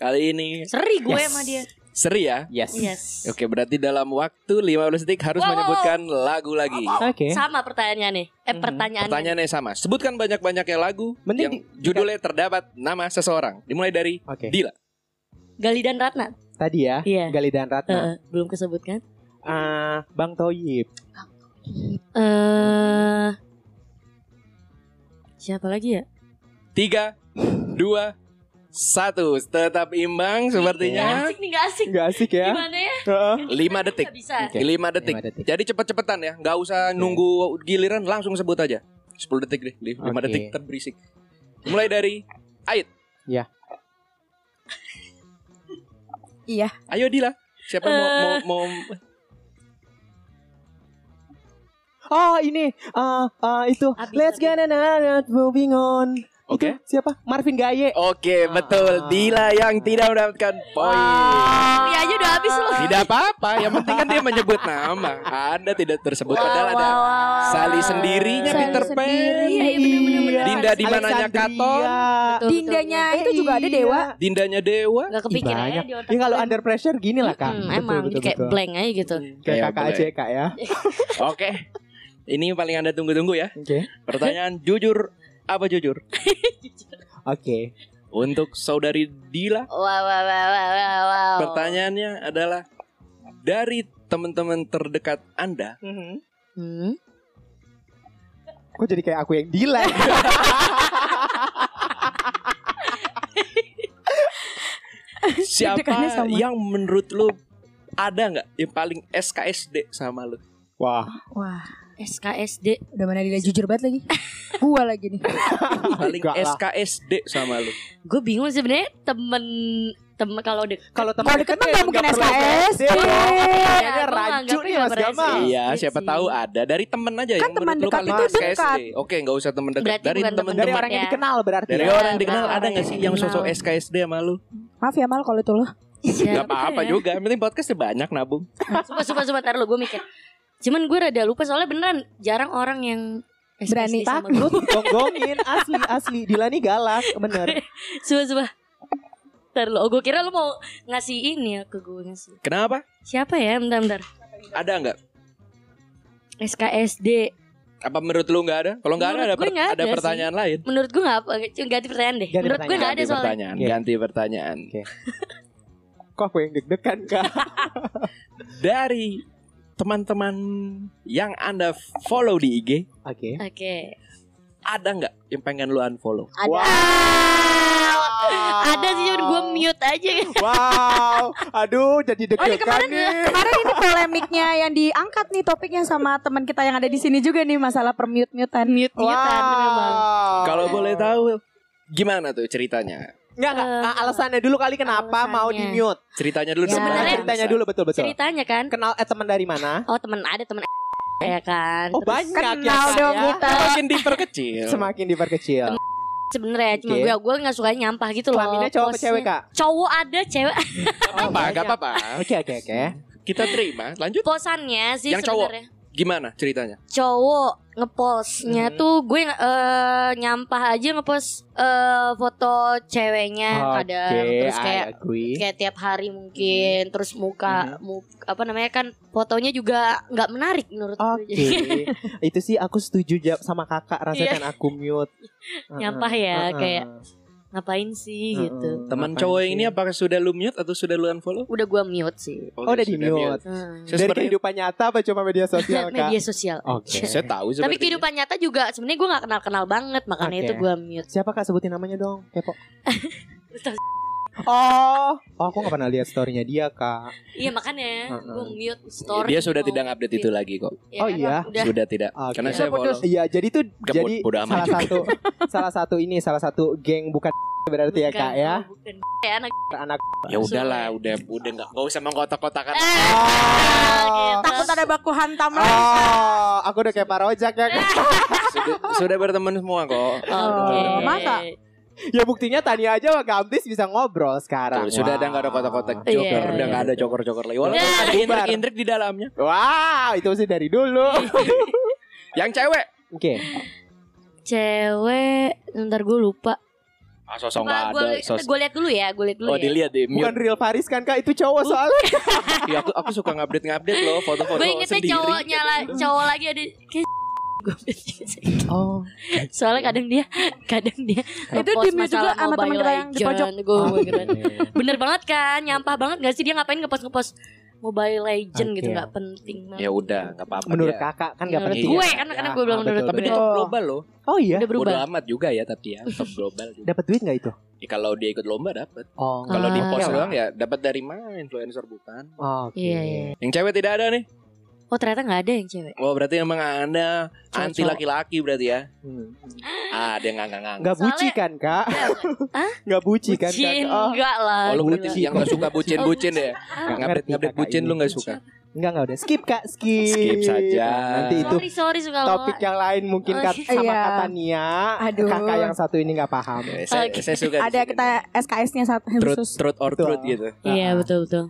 Speaker 1: kali ini.
Speaker 4: Seri gue
Speaker 1: Yes.
Speaker 4: sama dia.
Speaker 1: Seri ya?
Speaker 3: Yes.
Speaker 4: Yes.
Speaker 1: Oke, berarti dalam waktu 15 detik harus
Speaker 4: Wow, wow,
Speaker 1: menyebutkan lagu lagi.
Speaker 3: Oke.
Speaker 4: Sama pertanyaannya nih. Eh
Speaker 3: Mhm.
Speaker 4: pertanyaannya.
Speaker 1: Pertanyaannya sama. Sebutkan banyak-banyaknya lagu
Speaker 3: Mending
Speaker 1: yang judulnya terdapat nama seseorang. Dimulai dari
Speaker 3: Oke.
Speaker 1: Dila.
Speaker 4: Gali dan Ratna.
Speaker 3: Tadi ya.
Speaker 4: Iya.
Speaker 3: Gali dan Ratna.
Speaker 4: Eh, belum kesebutkan.
Speaker 3: Ah, Bang Toyib.
Speaker 4: Eh siapa lagi ya?
Speaker 1: Tiga, dua, satu. Tetap imbang
Speaker 4: Gak
Speaker 1: sepertinya.
Speaker 4: asik nih gak asik.
Speaker 3: Enggak asik ya?
Speaker 4: Gimana ya?
Speaker 3: Heeh.
Speaker 1: Lima detik.
Speaker 4: Gak bisa.
Speaker 3: Oke.
Speaker 1: Lima detik.
Speaker 3: Lima detik.
Speaker 1: Jadi cepet-cepetan ya. Nggak usah nunggu giliran langsung sebut aja. 10 detik deh. 5
Speaker 3: Oke.
Speaker 1: detik terberisik. Mulai dari Ait.
Speaker 3: Ya.
Speaker 2: Iya.
Speaker 1: Ayo Dila. Siapa yang mau, mau, mau
Speaker 3: Oh, ini ah ah, itu
Speaker 4: Abis,
Speaker 3: Let's
Speaker 4: abis.
Speaker 3: get another moving on.
Speaker 1: Oke.
Speaker 3: Itu siapa? Marvin Gaye.
Speaker 1: Oke, betul. Dila yang tidak mendapatkan poin.
Speaker 4: Iya aja udah habis loh.
Speaker 1: Tidak apa-apa, yang penting kan dia menyebut nama. Anda tidak tersebut padahal ada Sali sendirinya
Speaker 2: Sali
Speaker 1: Peter Pan.
Speaker 2: sendiri.
Speaker 4: Iya, iya, bener-bener,
Speaker 3: Iya.
Speaker 1: Dinda di mananya
Speaker 3: Alexandria.
Speaker 1: Katon?
Speaker 4: Betul, betul,
Speaker 2: Dindanya
Speaker 3: Eh,
Speaker 2: itu juga ada
Speaker 3: iya.
Speaker 2: dewa.
Speaker 1: Dindanya Dewa.
Speaker 4: betul. Gak
Speaker 3: Ih,
Speaker 4: kepikiran ya
Speaker 3: banyak.
Speaker 4: di otak.
Speaker 3: Ya kalau
Speaker 4: gue.
Speaker 3: under pressure gini lah kak.
Speaker 4: Mm,
Speaker 3: Betul,
Speaker 4: emang
Speaker 3: betul,
Speaker 4: kayak
Speaker 3: betul.
Speaker 4: blank aja gitu.
Speaker 3: Kayak
Speaker 1: Iya,
Speaker 3: kakak
Speaker 1: boleh.
Speaker 3: aja ya, kak ya.
Speaker 1: Oke. Ini yang paling Anda tunggu-tunggu ya.
Speaker 3: Oke.
Speaker 1: Pertanyaan jujur apa jujur?
Speaker 3: Oke.
Speaker 1: Untuk saudari Dila,
Speaker 4: Wow, wow, wow, wow, wow, wow.
Speaker 1: pertanyaannya adalah dari teman-teman terdekat Anda,
Speaker 4: Hmm?
Speaker 3: Kok jadi kayak aku yang delay?
Speaker 1: siapa
Speaker 2: Dedekannya sama.
Speaker 1: yang menurut lu ada nggak yang paling SKSD sama lu?
Speaker 3: Wah.
Speaker 2: Wah,
Speaker 4: SKSD.
Speaker 2: udah mana dia jujur banget lagi. Gua lagi nih.
Speaker 1: Paling
Speaker 3: Enggak lah.
Speaker 1: SKSD sama lu.
Speaker 4: Gue bingung sebenarnya temen temen kalau dek
Speaker 3: Kalau
Speaker 2: Kalau
Speaker 3: teman ya,
Speaker 2: deket mah nggak mungkin
Speaker 3: perlu
Speaker 2: SKS.
Speaker 3: SD.
Speaker 2: Iya.
Speaker 3: Kayaknya
Speaker 4: Ya, gua
Speaker 3: rancu
Speaker 4: nganggapnya
Speaker 3: Eh, nih mas
Speaker 4: nggak
Speaker 3: Gama.
Speaker 4: Ah,
Speaker 1: iya,
Speaker 4: iya
Speaker 1: siapa
Speaker 4: sih.
Speaker 1: tahu ada dari temen aja
Speaker 2: Kan
Speaker 1: yang
Speaker 2: teman
Speaker 1: menurut lu
Speaker 2: dekat
Speaker 1: paling
Speaker 2: itu
Speaker 1: SKSD. Oke, nggak usah temen dekat.
Speaker 4: Berarti
Speaker 1: dari
Speaker 4: bukan
Speaker 1: temen
Speaker 3: Dari
Speaker 1: temen
Speaker 4: teman
Speaker 3: orang yang
Speaker 4: ya. Iya,
Speaker 3: dikenal berarti.
Speaker 1: dari
Speaker 3: ya?
Speaker 1: orang yang dikenal
Speaker 4: Orang
Speaker 1: ada
Speaker 4: yang
Speaker 1: nggak sih yang
Speaker 4: dikenal.
Speaker 1: sosok SKSD sama lu?
Speaker 2: Maaf ya Mal kalau itu lo.
Speaker 4: siapa
Speaker 1: Gak apa-apa
Speaker 4: ya?
Speaker 1: juga. Yang penting podcastnya banyak nabung.
Speaker 4: Sumpah, sumpah, sumpah, ntar lu gue mikir. Cuman gue rada lupa soalnya beneran jarang orang yang
Speaker 2: Berani.
Speaker 4: SKSD sama
Speaker 3: Lu
Speaker 4: gue.
Speaker 3: gonggongin asli asli Dila nih galak bener
Speaker 4: Sumpah, sumpah. Ntar lu, oh, gue kira lu mau ngasih ini ya ke gue ngasih.
Speaker 1: Kenapa?
Speaker 4: Siapa ya? Bentar, bentar.
Speaker 1: Ada nggak?
Speaker 4: SKSD.
Speaker 1: Apa menurut lu nggak ada? Kalau nggak ada
Speaker 4: Menurut
Speaker 1: ada,
Speaker 4: gue
Speaker 1: per-
Speaker 4: nggak
Speaker 1: ada
Speaker 4: ada sih.
Speaker 1: pertanyaan lain.
Speaker 4: Menurut gue gak apa, Cuma ganti pertanyaan deh.
Speaker 3: Ganti
Speaker 4: Menurut gue gak
Speaker 1: Ganti
Speaker 4: ada soalnya.
Speaker 1: pertanyaan.
Speaker 3: Oke.
Speaker 1: Ganti pertanyaan.
Speaker 3: Kok aku yang deg-degan kak
Speaker 1: Dari teman-teman yang anda follow di IG,
Speaker 3: Oke
Speaker 4: Oke.
Speaker 1: ada nggak yang pengen lu unfollow?
Speaker 4: Ada.
Speaker 3: Wow.
Speaker 4: Ada sih cuman gue mute Oh, aja.
Speaker 3: Wow Aduh jadi deg-degan
Speaker 2: kemarin-
Speaker 4: ya.
Speaker 3: nih
Speaker 2: Kemarin ini polemiknya yang diangkat nih topiknya sama teman kita yang ada di sini juga nih masalah permute-mutean.
Speaker 4: Mute mutean memang. iya.
Speaker 1: Kalau boleh tahu, gimana tuh ceritanya?
Speaker 3: Enggak enggak Ah, Alasannya dulu kali kenapa mau di
Speaker 4: Eh,
Speaker 3: mute
Speaker 4: Alasannya.
Speaker 1: Ceritanya dulu
Speaker 4: Ya.
Speaker 1: dong.
Speaker 4: Sebenarnya-
Speaker 1: kalau
Speaker 3: Ceritanya
Speaker 1: bisa.
Speaker 3: dulu betul-betul
Speaker 4: Ceritanya kan.
Speaker 3: Kenal eh teman dari mana
Speaker 4: Oh temen ada temen ya kan.
Speaker 3: Oh
Speaker 4: Terus
Speaker 3: banyak ya
Speaker 2: Kenal
Speaker 3: Kak,
Speaker 2: dong
Speaker 3: ya.
Speaker 2: kita.
Speaker 1: Semakin diperkecil.
Speaker 3: Semakin diperkecil
Speaker 4: sebenarnya cuma
Speaker 3: Oke.
Speaker 4: gue gue nggak suka nyampah gitu loh.
Speaker 3: Kelaminnya cowok apa
Speaker 4: posnya.
Speaker 3: cewek kak?
Speaker 4: Cowok ada cewek
Speaker 3: Oh,
Speaker 1: apa?
Speaker 3: banyak.
Speaker 1: Gak apa-apa.
Speaker 3: Oke oke oke
Speaker 1: Kita terima. Lanjut.
Speaker 4: posannya sih
Speaker 1: Yang cowok.
Speaker 4: sebenarnya.
Speaker 1: Gimana ceritanya?
Speaker 4: Cowok ngepostnya
Speaker 3: Hmm.
Speaker 4: tuh gue eh, nyampah aja ngepost eh, foto ceweknya kadang Eh, terus kayak
Speaker 3: I Hmm. agree
Speaker 4: kayak tiap hari mungkin terus muka mu- apa namanya kan fotonya juga nggak menarik menurut
Speaker 3: Oke,
Speaker 4: gue. Jadi
Speaker 3: itu sih aku setuju ja- sama kakak rasanya
Speaker 4: Iya.
Speaker 3: kan aku mute.
Speaker 4: Nyampah ya,
Speaker 3: Heeh.
Speaker 4: kayak ngapain sih
Speaker 3: Heeh.
Speaker 4: gitu.
Speaker 1: Teman
Speaker 3: Apaan
Speaker 1: cowok
Speaker 3: sih?
Speaker 1: yang ini apakah sudah lu mute atau sudah lu unfollow?
Speaker 4: Udah gue mute sih.
Speaker 3: Oh, udah di mute.
Speaker 4: Hmm.
Speaker 1: Saya
Speaker 3: Dari
Speaker 1: seperti-
Speaker 3: kehidupan nyata apa cuma media sosial kak?
Speaker 4: Media sosial.
Speaker 3: Oke.
Speaker 4: aja.
Speaker 1: Saya tahu
Speaker 4: Tapi
Speaker 1: sepertinya.
Speaker 4: kehidupan nyata juga sebenarnya gue nggak kenal-kenal banget makanya
Speaker 3: Oke.
Speaker 4: itu gue mute.
Speaker 3: Siapa kak sebutin namanya dong? Kepo. Oh, oh aku gak pernah lihat storynya dia kak.
Speaker 4: Iya makanya
Speaker 3: Heeh.
Speaker 4: gue mute story. gitu.
Speaker 1: Dia sudah
Speaker 4: mau
Speaker 1: tidak update itu lagi kok.
Speaker 4: Ya
Speaker 3: Oh
Speaker 4: kan,
Speaker 3: iya?
Speaker 4: Udah.
Speaker 1: Sudah tidak.
Speaker 3: Oke.
Speaker 1: Karena saya
Speaker 4: Udah putus.
Speaker 1: follow.
Speaker 3: Iya, jadi itu
Speaker 1: Gak
Speaker 3: jadi
Speaker 1: bodo amat
Speaker 3: salah
Speaker 1: juga.
Speaker 3: satu salah satu ini salah satu geng bukan berarti ya kak ya
Speaker 4: oh, Bukan. Kayak anak.
Speaker 3: anak.
Speaker 1: Ya udahlah, udah udah nggak nggak usah mengkotak-kotakan.
Speaker 4: Eh,
Speaker 3: Oh.
Speaker 4: gitu.
Speaker 2: Takut ada baku hantam lah.
Speaker 3: Oh, aku udah kayak parojak ya kak.
Speaker 1: sudah, sudah berteman semua kok.
Speaker 4: Oke.
Speaker 3: Oh,
Speaker 2: masa?
Speaker 3: Ya buktinya Tania aja sama Gamtis bisa ngobrol sekarang.
Speaker 1: Tuh, sudah
Speaker 3: Wah.
Speaker 1: ada nggak ada kotak-kotak
Speaker 4: Iya,
Speaker 1: joker, udah
Speaker 4: iya.
Speaker 1: nggak ada joker-joker lagi. Walaupun
Speaker 4: Iya.
Speaker 1: ada
Speaker 3: Bubar.
Speaker 1: intrik-intrik di dalamnya.
Speaker 3: Wow, itu sih dari dulu.
Speaker 1: Yang cewek
Speaker 3: Oke.
Speaker 4: Cewek. Ntar gue lupa.
Speaker 1: Ah, sosok nggak ada. Sos
Speaker 4: Gue lihat dulu ya, gue lihat dulu
Speaker 1: oh
Speaker 4: ya.
Speaker 1: dilihat di
Speaker 3: Bukan
Speaker 1: mute.
Speaker 3: real Paris kan kak Itu cowok soalnya
Speaker 1: Iya, aku, aku suka ngupdate ngupdate loh foto-foto
Speaker 4: Gue
Speaker 1: Oh,
Speaker 4: ingetnya
Speaker 1: sendiri.
Speaker 4: cowoknya lah, cowok lagi ada kayak gue
Speaker 3: Oh
Speaker 4: soalnya kadang dia kadang dia
Speaker 2: Itu
Speaker 4: ngepost
Speaker 2: di mute juga
Speaker 4: masalah
Speaker 2: sama teman
Speaker 4: Mobile
Speaker 2: kita yang di pojok.
Speaker 4: Legend, gue-
Speaker 3: Oh,
Speaker 4: gue kira.
Speaker 3: iya.
Speaker 4: bener banget kan nyampah banget gak sih dia ngapain ngepost ngepost Mobile Legend gitu
Speaker 3: Oke.
Speaker 4: nggak penting banget.
Speaker 1: Ya udah, nggak apa-apa.
Speaker 3: Menurut
Speaker 1: dia.
Speaker 3: kakak kan gak
Speaker 4: Menurut
Speaker 3: penting
Speaker 4: gue
Speaker 3: ya.
Speaker 4: kan, karena
Speaker 3: Ya,
Speaker 4: gue bilang
Speaker 3: ah,
Speaker 4: menurut
Speaker 3: betul,
Speaker 1: Tapi dia
Speaker 3: betul.
Speaker 1: top global loh.
Speaker 3: Oh iya
Speaker 4: udah
Speaker 1: Bodo
Speaker 4: berubah
Speaker 1: amat juga ya tapi ya top global juga.
Speaker 3: Dapat duit gak itu?
Speaker 1: Ya, kalau dia ikut lomba dapat.
Speaker 3: Oh
Speaker 1: Kalau di
Speaker 4: Ah.
Speaker 1: post doang ya dapat dari mana influencer bukan?
Speaker 3: Oke
Speaker 4: Iya, iya.
Speaker 1: Yang cewek tidak ada nih.
Speaker 4: oh ternyata nggak ada yang cewek
Speaker 1: Wah Oh, berarti emang anda anti
Speaker 4: Cowok-cowok.
Speaker 1: laki-laki berarti ya?
Speaker 3: Hmm.
Speaker 1: Ah dia nggak nggak nggak.
Speaker 3: Nggak buci kan kak? Nggak buci kan kak?
Speaker 4: Bucin
Speaker 3: Oh,
Speaker 4: enggak lah
Speaker 1: Oh, lu
Speaker 4: gila.
Speaker 1: berarti yang nggak suka bucin-bucin ya?
Speaker 3: nggak
Speaker 1: Ngupdate
Speaker 3: ngerti
Speaker 1: ngupdate
Speaker 3: kakak
Speaker 1: bucin
Speaker 3: ini.
Speaker 1: lu nggak suka?
Speaker 3: Enggak enggak udah skip Kak, skip.
Speaker 1: Skip saja.
Speaker 3: Nanti itu
Speaker 4: sorry sorry suka
Speaker 3: topik yang lain mungkin kat,
Speaker 4: Oke.
Speaker 3: sama
Speaker 2: Iya.
Speaker 3: kata Nia.
Speaker 2: Aduh.
Speaker 3: Kakak yang satu ini nggak paham.
Speaker 1: Ya, saya,
Speaker 4: Oke.
Speaker 1: saya suka. di
Speaker 2: Ada
Speaker 1: sini.
Speaker 2: kita SKS-nya satu
Speaker 1: truth,
Speaker 2: khusus
Speaker 1: truth or
Speaker 3: Betul.
Speaker 1: truth gitu.
Speaker 4: iya
Speaker 3: Nah,
Speaker 4: betul betul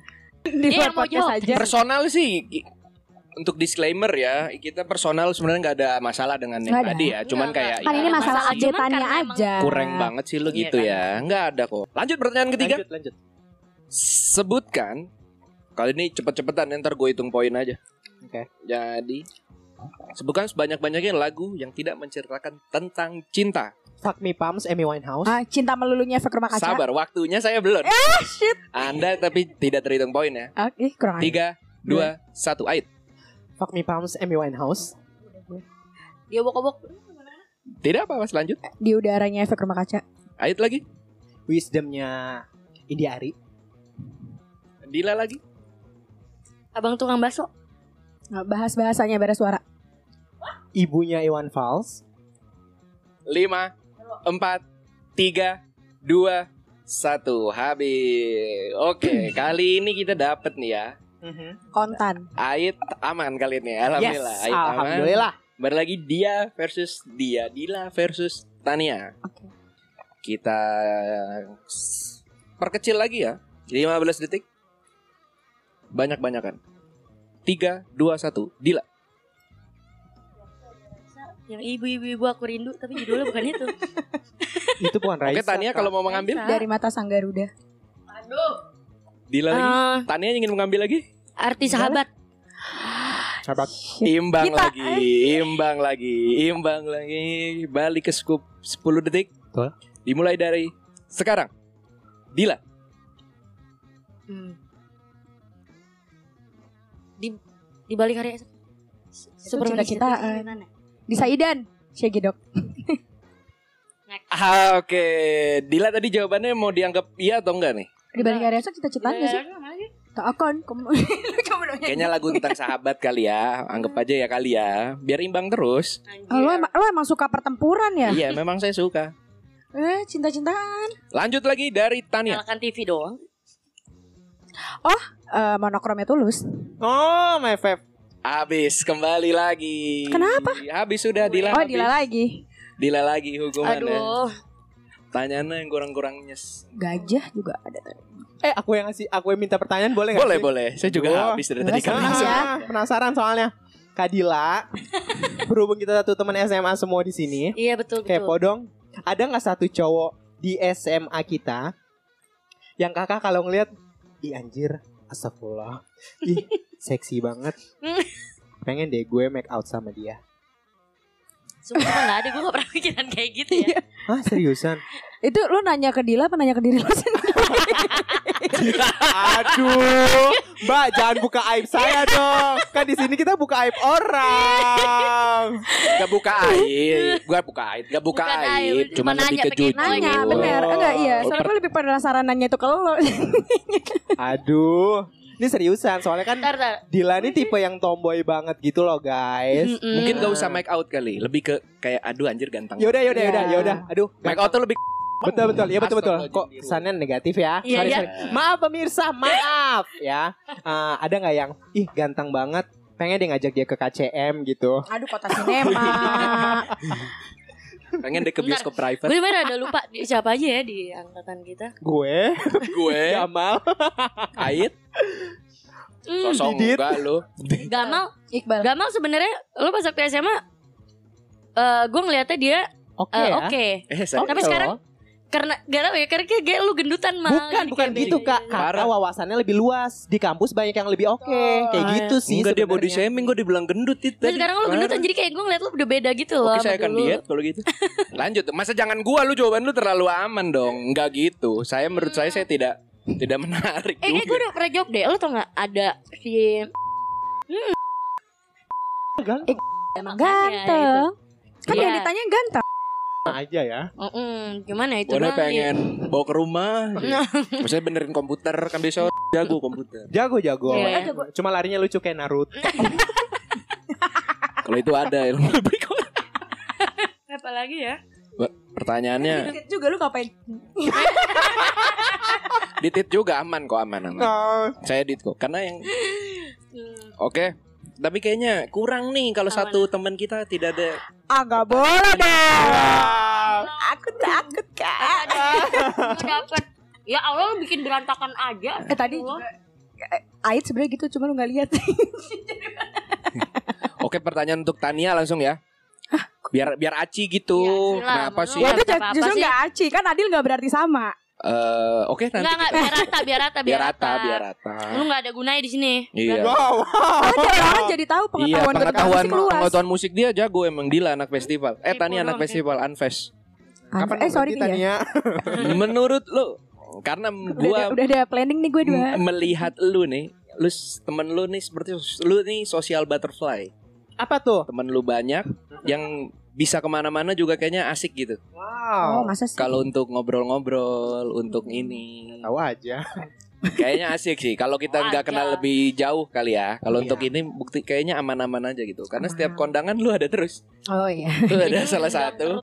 Speaker 2: di
Speaker 4: Iya,
Speaker 2: luar
Speaker 4: mau
Speaker 2: podcast
Speaker 4: jawab.
Speaker 2: aja.
Speaker 1: Personal sih i- untuk disclaimer ya, kita personal sebenarnya nggak ada masalah dengan yang
Speaker 2: Nggak ada.
Speaker 1: tadi ya, cuman
Speaker 4: Nggak,
Speaker 1: kayak
Speaker 4: nggak.
Speaker 2: Kan
Speaker 1: ya,
Speaker 2: ini masalah
Speaker 4: Masalah, cuman
Speaker 2: update-annya
Speaker 4: karena emang
Speaker 2: aja.
Speaker 1: kurang banget sih lu
Speaker 4: Iya
Speaker 1: gitu
Speaker 4: kan?
Speaker 1: ya. Nggak ada kok. Lanjut pertanyaan ketiga.
Speaker 3: Lanjut, lanjut.
Speaker 1: Sebutkan kali ini cepet-cepetan ya, ntar gue hitung poin aja.
Speaker 3: Oke.
Speaker 1: Jadi sebutkan sebanyak-banyaknya lagu yang tidak menceritakan tentang cinta.
Speaker 3: Fuck me Pams Amy Winehouse.
Speaker 2: Ah, cinta melulunya efek rumah kaca.
Speaker 1: Sabar, waktunya saya belum.
Speaker 3: Eh,
Speaker 2: Shit.
Speaker 1: Anda tapi tidak terhitung poin ya.
Speaker 2: Oke, Ah, kurang ajar.
Speaker 1: Tiga, dua, satu, ait.
Speaker 3: Fuck me Pams Amy Winehouse.
Speaker 4: dia bokok-bok
Speaker 1: Tidak apa-apa, lanjut.
Speaker 2: Di udaranya efek rumah kaca.
Speaker 1: Ait lagi.
Speaker 3: Wisdomnya Indi Ari.
Speaker 1: Dila lagi.
Speaker 4: abang tukang bakso
Speaker 2: Nggak bahas bahasanya beres Ah, suara.
Speaker 3: Ibunya Iwan Fals.
Speaker 1: Lima, empat, tiga, dua, satu. Habis. Oke, kali ini kita dapat nih ya.
Speaker 2: Mm-hmm. Kontan.
Speaker 1: Ait aman kali ini. ya.
Speaker 3: Yes,
Speaker 1: Alhamdulillah. Ait aman.
Speaker 3: alhamdulillah.
Speaker 1: Balik lagi dia versus dia, Dila versus Tania.
Speaker 2: Oke.
Speaker 1: Kita s- perkecil lagi ya. 15 detik. Banyak-banyakan. 3 2 1. Dila.
Speaker 4: yang ibu-ibu ibu aku rindu tapi judulnya bukan itu
Speaker 3: Itu bukan Raisa.
Speaker 1: Oke, Tania kalau mau mengambil,
Speaker 4: Raisa.
Speaker 2: Dari mata sang Garuda.
Speaker 1: Dila lagi.
Speaker 4: Eh,
Speaker 1: Tania ingin mengambil lagi?
Speaker 4: arti sahabat
Speaker 3: Sahabat.
Speaker 1: Imbang
Speaker 2: Kita-
Speaker 1: lagi, imbang lagi, imbang lagi. Balik ke scoop 10 detik.
Speaker 3: Betul.
Speaker 1: Dimulai dari sekarang. Dila,
Speaker 4: Hmm. di di balik hari esok Se- sepermanis
Speaker 2: cinta-cintaan.
Speaker 4: itu cinta-cintaan ya?
Speaker 2: Di Saidan. Shaggy Dog.
Speaker 1: Ah, oke. Dila tadi jawabannya mau dianggap iya atau enggak nih?
Speaker 2: Di balik
Speaker 4: Nah.
Speaker 2: hari esok cita-citaan
Speaker 4: Iya.
Speaker 2: gak sih? Tak akan. Kamu Lu coba dong.
Speaker 1: Kayaknya lagu tentang sahabat kali ya. Anggap aja ya kali ya. Biar imbang terus.
Speaker 2: Oh, lo, emang, lo emang suka pertempuran ya?
Speaker 1: Iya, memang saya suka.
Speaker 2: Eh, cinta-cintaan.
Speaker 1: Lanjut lagi dari Tania.
Speaker 4: nyalakan TV doang
Speaker 2: Eh, monokromnya tulus.
Speaker 3: Oh, my fav.
Speaker 1: Habis kembali lagi.
Speaker 2: Kenapa?
Speaker 1: Habis sudah Dila.
Speaker 2: Oh,
Speaker 1: Ya, habis.
Speaker 2: Dila lagi.
Speaker 1: Dila lagi hukumannya.
Speaker 4: iya. aduh
Speaker 1: Tanyanya yang kurang-kurangnya. s-
Speaker 2: Gajah juga ada tadi.
Speaker 3: Eh, aku yang ngasih, aku yang minta pertanyaan boleh nggak?
Speaker 1: Boleh,
Speaker 3: sih?
Speaker 1: boleh. Saya juga
Speaker 3: Wah,
Speaker 1: habis dari tadi
Speaker 3: penasaran.
Speaker 1: kan.
Speaker 2: habis
Speaker 4: Iya.
Speaker 2: ya.
Speaker 3: Ah, Penasaran soalnya. Kadila, berhubung kita satu teman SMA semua di sini,
Speaker 4: iya betul betul
Speaker 3: kepo dong. Ada nggak satu cowok di SMA kita yang kakak kalau ngelihat, ih anjir, astagfirullah, ih seksi banget. Pengen deh gue make out sama dia.
Speaker 4: Sumpah gak ada Gue gak pernah pikiran kayak gitu ya
Speaker 3: Hah "Ah, seriusan?
Speaker 2: Itu lo nanya ke Dila apa nanya ke diri lo sendiri?
Speaker 3: Aduh, Mbak jangan buka aib saya dong. Kan di sini kita buka aib orang.
Speaker 1: Gak buka aib. Gua buka aib. Gak buka
Speaker 4: Bukan aib,
Speaker 1: aib. Cuma
Speaker 4: cuma nanya,
Speaker 1: lebih ke
Speaker 4: pengen
Speaker 1: jujur.
Speaker 4: nanya,
Speaker 2: Nanya, bener. Enggak, iya.
Speaker 1: Oh,
Speaker 2: Soalnya
Speaker 1: per-
Speaker 2: gue lebih penasaran nanya itu ke lo.
Speaker 3: Aduh, ini seriusan soalnya kan
Speaker 4: Ntar ntar
Speaker 3: Dila ini tipe yang tomboy banget gitu loh guys.
Speaker 4: Mm-mm.
Speaker 1: Mungkin gak
Speaker 4: Hmm.
Speaker 1: usah make out kali. Lebih ke kayak aduh anjir ganteng.
Speaker 3: Yaudah, yaudah, yaudah,
Speaker 4: Iya.
Speaker 2: Ya.
Speaker 3: yaudah. Aduh,
Speaker 1: Make out tuh lebih
Speaker 3: betul betul, ya betul betul.
Speaker 1: Astagfirullahaladzim.
Speaker 3: Kok kesannya negatif ya?
Speaker 4: Iya,
Speaker 3: Sorry,
Speaker 4: iya.
Speaker 3: sorry. Maaf pemirsa, maaf ya. Eh, ada nggak yang ih ganteng banget? Pengen deh ngajak dia ke KCM gitu.
Speaker 2: Aduh, kota sinema.
Speaker 1: pengen deh ke
Speaker 4: Bentar.
Speaker 1: bioskop private.
Speaker 4: Gue bener ada lupa di- Siapa aja ya di angkatan kita
Speaker 3: Gue,
Speaker 1: Gue
Speaker 3: Jamal,
Speaker 4: Eh,
Speaker 1: Ait
Speaker 4: hmm,
Speaker 1: Sosok
Speaker 3: Didit.
Speaker 1: enggak lu
Speaker 4: Gamal
Speaker 2: Iqbal.
Speaker 4: Gamal sebenarnya Lo pas waktu SMA eh, Gue ngeliatnya dia
Speaker 3: oke
Speaker 4: eh,
Speaker 3: ya?
Speaker 4: Oke
Speaker 1: Eh
Speaker 3: Oke
Speaker 1: saya
Speaker 3: Oh, kan
Speaker 4: Tapi sekarang-
Speaker 3: loh.
Speaker 4: karena gak tau ya karena kayak kayak lu gendutan mah
Speaker 3: Bukan, bukan gitu kak
Speaker 1: Parah.
Speaker 3: Karena wawasannya lebih luas Di kampus banyak yang lebih oke
Speaker 4: Ah,
Speaker 3: Kayak gitu
Speaker 4: iya.
Speaker 3: sih
Speaker 1: Enggak dia body
Speaker 3: sebenarnya.
Speaker 1: shaming Gue dibilang gendut itu
Speaker 4: Nah,
Speaker 1: tadi.
Speaker 4: sekarang lu
Speaker 1: Parah.
Speaker 4: gendutan jadi kayak gue ngeliat lu udah beda gitu loh
Speaker 1: Oke
Speaker 4: sama
Speaker 1: saya akan
Speaker 4: dulu.
Speaker 1: diet kalau gitu Lanjut Masa jangan gua lu jawaban lu terlalu aman dong Enggak gitu Saya menurut saya saya tidak Tidak menarik
Speaker 4: Eh kayak gue
Speaker 1: juga
Speaker 4: udah pernah jawab deh Lu tau gak ada si
Speaker 3: Ganteng
Speaker 4: Emang
Speaker 2: Ganteng. Kan yang
Speaker 4: Hmm. gitu. Iya.
Speaker 2: ditanya ganteng.
Speaker 3: aja ya
Speaker 4: Gimana itu
Speaker 1: Wadah
Speaker 4: doang,
Speaker 1: pengen bawa ke rumah
Speaker 4: Iya.
Speaker 1: Maksudnya benerin komputer Kan biasa orang jago komputer
Speaker 3: Jago-jago
Speaker 4: Iya.
Speaker 3: Cuma larinya lucu kayak Naruto
Speaker 1: Kalau itu ada ya. ilmu lebih kok.
Speaker 2: Apalagi ya?
Speaker 1: Pertanyaannya
Speaker 2: Dikit juga lu ngapain?
Speaker 1: Ditit juga aman kok aman, aman.
Speaker 3: Oh.
Speaker 1: Saya edit kok Karena yang
Speaker 4: Hmm.
Speaker 1: Oke Tapi kayaknya kurang nih Kalau
Speaker 4: Aman.
Speaker 1: satu teman kita tidak ada
Speaker 2: Ah nggak boleh dong. Aku takut kak.
Speaker 4: Gua dapet Ya Allah lu bikin berantakan aja
Speaker 2: Eh tadi
Speaker 4: Allah.
Speaker 2: Ait sebenarnya gitu cuma lu nggak lihat.
Speaker 1: Oke pertanyaan untuk Tania langsung ya Biar biar aci gitu
Speaker 4: Iya,
Speaker 1: Kenapa
Speaker 4: sila. Menurut
Speaker 1: sih
Speaker 2: ya
Speaker 4: lu
Speaker 2: itu
Speaker 4: nggak
Speaker 2: ju-
Speaker 4: apa-apa
Speaker 2: justru
Speaker 4: sih.
Speaker 2: nggak aci kan adil nggak berarti sama.
Speaker 1: Eh, Oke nanti
Speaker 4: Enggak enggak biar rata biar rata
Speaker 1: biar rata biar rata
Speaker 4: Lu gak ada gunanya di sini.
Speaker 1: iya
Speaker 3: Wow
Speaker 2: Oh, jadi orang jadi tahu
Speaker 1: iya
Speaker 2: pengetahuan
Speaker 1: pengetahuan
Speaker 2: bermusik luas.
Speaker 1: pengetahuan musik dia jago emang Dila anak festival eh
Speaker 4: Tipu
Speaker 1: Tania anak
Speaker 4: doang,
Speaker 1: festival Unfest
Speaker 2: Kapan eh sorry
Speaker 3: kita
Speaker 2: ya.
Speaker 3: ya
Speaker 4: Hmm.
Speaker 1: menurut lu karena
Speaker 2: Udah, ada,
Speaker 1: gua Hmm.
Speaker 2: udah ada planning nih gue dua.
Speaker 1: m- melihat lu nih lu s- temen lu nih seperti lu nih social butterfly
Speaker 3: Apa tuh?
Speaker 1: temen lu banyak yang bisa kemana-mana juga kayaknya asik gitu
Speaker 2: Oh,
Speaker 3: Wow
Speaker 2: masa sih?
Speaker 1: kalau untuk ngobrol-ngobrol untuk ini
Speaker 3: Tahu aja
Speaker 1: Kayaknya asik sih kalau kita
Speaker 4: Oh,
Speaker 1: nggak
Speaker 4: aja.
Speaker 2: iya.
Speaker 1: kenal lebih jauh kali ya. Kalau
Speaker 3: Iya.
Speaker 1: untuk ini bukti kayaknya aman-aman aja gitu. Karena
Speaker 2: Aman.
Speaker 1: setiap kondangan lu ada terus.
Speaker 2: Oh iya.
Speaker 1: Lu ada
Speaker 4: Ini
Speaker 1: salah
Speaker 4: udah
Speaker 1: satu.